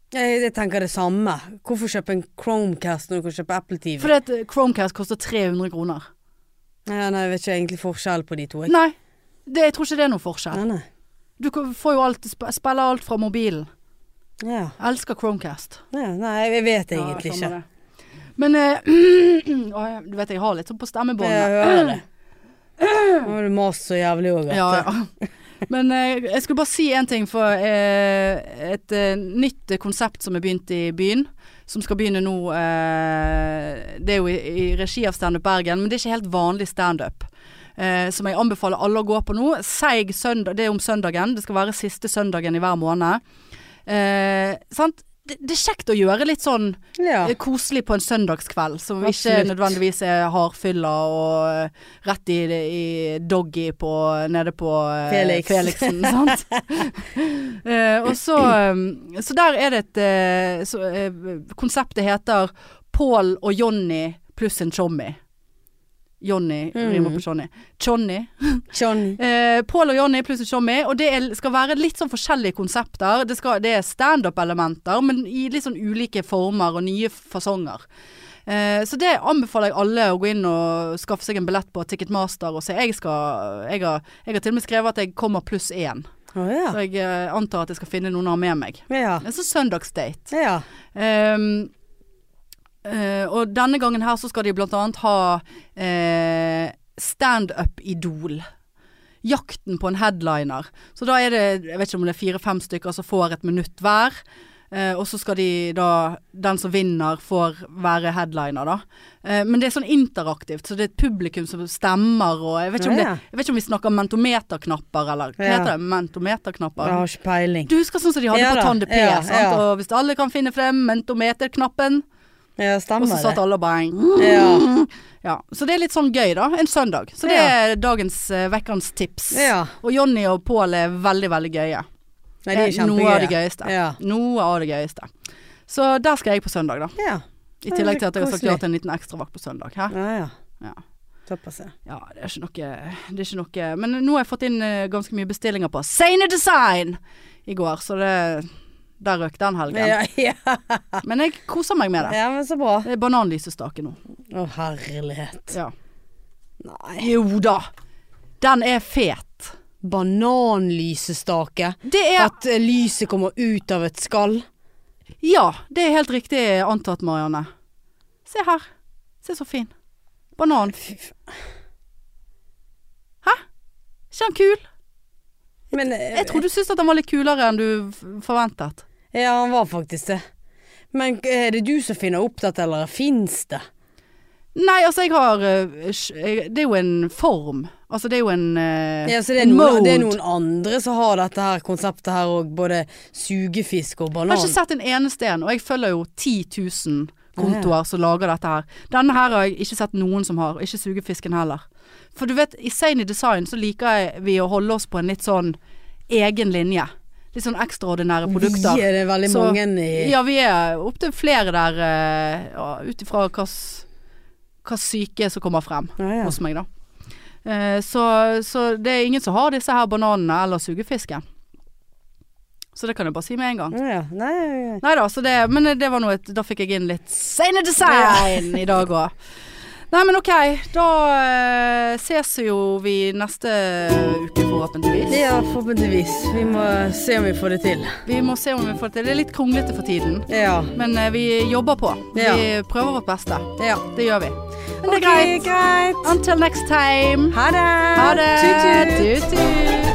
[SPEAKER 2] Jeg, jeg tenker det samme. Hvorfor kjøpe en Chromecast når du kan kjøpe Apple TV?
[SPEAKER 1] Fordi at eh, Chromecast koster 300 kroner.
[SPEAKER 2] Ja, nei, jeg vet ikke egentlig forskjell på de to. jeg.
[SPEAKER 1] Nei, det, jeg tror ikke det er noen forskjell.
[SPEAKER 2] Nei, nei.
[SPEAKER 1] Du kan- får jo alt, sp- spiller alt fra mobilen.
[SPEAKER 2] Ja.
[SPEAKER 1] Jeg elsker Chromecast.
[SPEAKER 2] Nei, nei, jeg vet
[SPEAKER 1] Ja,
[SPEAKER 2] egentlig
[SPEAKER 1] samme
[SPEAKER 2] ikke.
[SPEAKER 1] det. Men eh, <clears throat> å, du vet jeg har litt sånn på
[SPEAKER 2] Men Jeg
[SPEAKER 1] stemmebåndet.
[SPEAKER 2] hører det. Nå har du mast så jævlig òg.
[SPEAKER 1] Ja, ja. Men eh, jeg skulle bare si en ting for eh, et eh, nytt konsept som er begynt i byen. Som skal begynne nå eh, Det er jo i, i regi av Standup Bergen, men det er ikke helt vanlig standup. eh, som jeg anbefaler alle å gå på nå. Seig søndag, det er om søndagen. Det skal være siste søndagen i hver måned. Eh, sant? Det, det er kjekt å gjøre litt sånn
[SPEAKER 2] Ja.
[SPEAKER 1] eh, koselig på en søndagskveld, som
[SPEAKER 2] Absolutt.
[SPEAKER 1] ikke nødvendigvis er hardfylla og eh, rett i, i doggy på, nede på eh,
[SPEAKER 2] Felix.
[SPEAKER 1] Felixen. <laughs>
[SPEAKER 2] <laughs>
[SPEAKER 1] Sant? Eh, og så, eh, så der er det et eh, så, eh, Konseptet heter Pål og Jonny pluss en chommy. Jonny
[SPEAKER 2] Mm.
[SPEAKER 1] rimer på Johnny. Johnny.
[SPEAKER 2] Johnny.
[SPEAKER 1] Eh, Pål og Jonny pluss Tjommi, og det er, skal være litt sånn forskjellige konsepter. Det, skal, det er standup-elementer, men i litt sånn ulike former og nye fasonger. Eh, så det anbefaler jeg alle å gå inn og skaffe seg en billett på Ticketmaster og se. Jeg, skal, jeg, har, jeg har til og med skrevet at jeg kommer pluss én,
[SPEAKER 2] Å ja.
[SPEAKER 1] så jeg eh, antar at jeg skal finne noen å ha med meg.
[SPEAKER 2] Ja.
[SPEAKER 1] Så søndagsdate.
[SPEAKER 2] ja.
[SPEAKER 1] Ehm, eh, og denne gangen her så skal de blant annet ha eh, standup-idol. Jakten på en headliner. Så da er det, jeg vet ikke om det er fire-fem stykker som får et minutt hver. Eh, og så skal de da, den som vinner får være headliner da. Eh, men det er sånn interaktivt, så det er et publikum som stemmer og jeg vet ikke om,
[SPEAKER 2] Ja,
[SPEAKER 1] det,
[SPEAKER 2] ja.
[SPEAKER 1] jeg vet ikke om vi snakker mentometerknapper eller hva
[SPEAKER 2] Ja.
[SPEAKER 1] heter det? Mentometerknapper?
[SPEAKER 2] Jeg har ikke peiling.
[SPEAKER 1] Du husker sånn som de hadde
[SPEAKER 2] Ja
[SPEAKER 1] på
[SPEAKER 2] da,
[SPEAKER 1] Tande P.
[SPEAKER 2] ja,
[SPEAKER 1] sant?
[SPEAKER 2] ja.
[SPEAKER 1] Og hvis alle kan finne frem mentometerknappen,
[SPEAKER 2] Ja,
[SPEAKER 1] og
[SPEAKER 2] stemmer
[SPEAKER 1] så satt
[SPEAKER 2] det.
[SPEAKER 1] alle og bare
[SPEAKER 2] Ja.
[SPEAKER 1] ja. Så det er litt sånn gøy, da. En søndag. Så det
[SPEAKER 2] Ja.
[SPEAKER 1] er dagens uh, vekkens tips.
[SPEAKER 2] Ja.
[SPEAKER 1] Og Jonny og Pål er veldig, veldig gøye.
[SPEAKER 2] Nei, de er
[SPEAKER 1] Eh, Noe av det
[SPEAKER 2] kjempegøye.
[SPEAKER 1] gøyeste.
[SPEAKER 2] Ja.
[SPEAKER 1] Noe av det gøyeste. Så der skal jeg på søndag, da.
[SPEAKER 2] Ja.
[SPEAKER 1] I
[SPEAKER 2] Ja,
[SPEAKER 1] tillegg
[SPEAKER 2] så
[SPEAKER 1] til at jeg har sagt ja
[SPEAKER 2] koselig.
[SPEAKER 1] til en liten ekstravakt på søndag. Hæ?
[SPEAKER 2] Ja, ja.
[SPEAKER 1] Ja.
[SPEAKER 2] Såpass, ja.
[SPEAKER 1] Ja, det er ikke noe, det er ikke noe. Men nå har jeg fått inn eh, ganske mye bestillinger på Sane Design i går, så det, der røk den helgen.
[SPEAKER 2] Ja, <laughs> ja.
[SPEAKER 1] Men jeg koser meg med det.
[SPEAKER 2] ja, men så bra.
[SPEAKER 1] Det er bananlysestake nå.
[SPEAKER 2] Å, herlighet.
[SPEAKER 1] Ja.
[SPEAKER 2] Nei.
[SPEAKER 1] Jo da. Den er fet.
[SPEAKER 2] Bananlysestake.
[SPEAKER 1] Det er
[SPEAKER 2] At eh, lyset kommer ut av et skall.
[SPEAKER 1] Ja, det er helt riktig antatt, Marianne. Se her. Se så fin. Banan.
[SPEAKER 2] Fy f-
[SPEAKER 1] Ikke den kul?
[SPEAKER 2] Men eh,
[SPEAKER 1] Jeg tror du syntes at den var litt kulere enn du f- forventet.
[SPEAKER 2] Ja, han var faktisk det. Men eh, er det du som finner opp dette, eller fins det?
[SPEAKER 1] Nei, altså jeg har eh, sj- jeg- Det er jo en form. Altså det er jo en eh,
[SPEAKER 2] Ja, så det er,
[SPEAKER 1] en
[SPEAKER 2] noen, det er
[SPEAKER 1] mode.
[SPEAKER 2] noen andre som har dette her konseptet her òg, både sugefisk og
[SPEAKER 1] Jeg har
[SPEAKER 2] banan.
[SPEAKER 1] ikke sett en eneste en, og jeg følger jo 10 000 kontoer som lager dette her. Denne her har jeg ikke sett noen som har, og ikke sugefisken heller. For du vet, i Sane Design så liker jeg, vi å holde oss på en litt sånn egen linje. Litt sånn ekstraordinære
[SPEAKER 2] Vi
[SPEAKER 1] produkter.
[SPEAKER 2] er det veldig
[SPEAKER 1] Så-
[SPEAKER 2] mange i
[SPEAKER 1] Ja, vi er opptil flere der, eh, ja, ut ifra hva s- hva syke som kommer frem
[SPEAKER 2] Ja, ja.
[SPEAKER 1] hos meg, da. Eh, Så, så det er ingen som har disse her bananene eller sugefisken. Så det kan jeg bare si med en gang.
[SPEAKER 2] Ja, ja. Nei, ja, ja.
[SPEAKER 1] Nei da, så det, men det var noe et, Da fikk jeg inn litt Sane design i dag òg. Nei, men OK. Da eh, ses jo vi neste uke, forhåpentligvis.
[SPEAKER 2] ja, forhåpentligvis. Vi må se om vi får det til.
[SPEAKER 1] Vi må se om vi får til Det er litt kronglete for tiden,
[SPEAKER 2] Ja.
[SPEAKER 1] men eh, vi jobber på.
[SPEAKER 2] Ja.
[SPEAKER 1] Vi prøver vårt beste.
[SPEAKER 2] ja.
[SPEAKER 1] Det gjør vi. Men det er
[SPEAKER 2] Ok,
[SPEAKER 1] greit.
[SPEAKER 2] greit.
[SPEAKER 1] Until next time.
[SPEAKER 2] Ha det.
[SPEAKER 1] Ha det.
[SPEAKER 2] Tut, tut.
[SPEAKER 1] Tut, tut.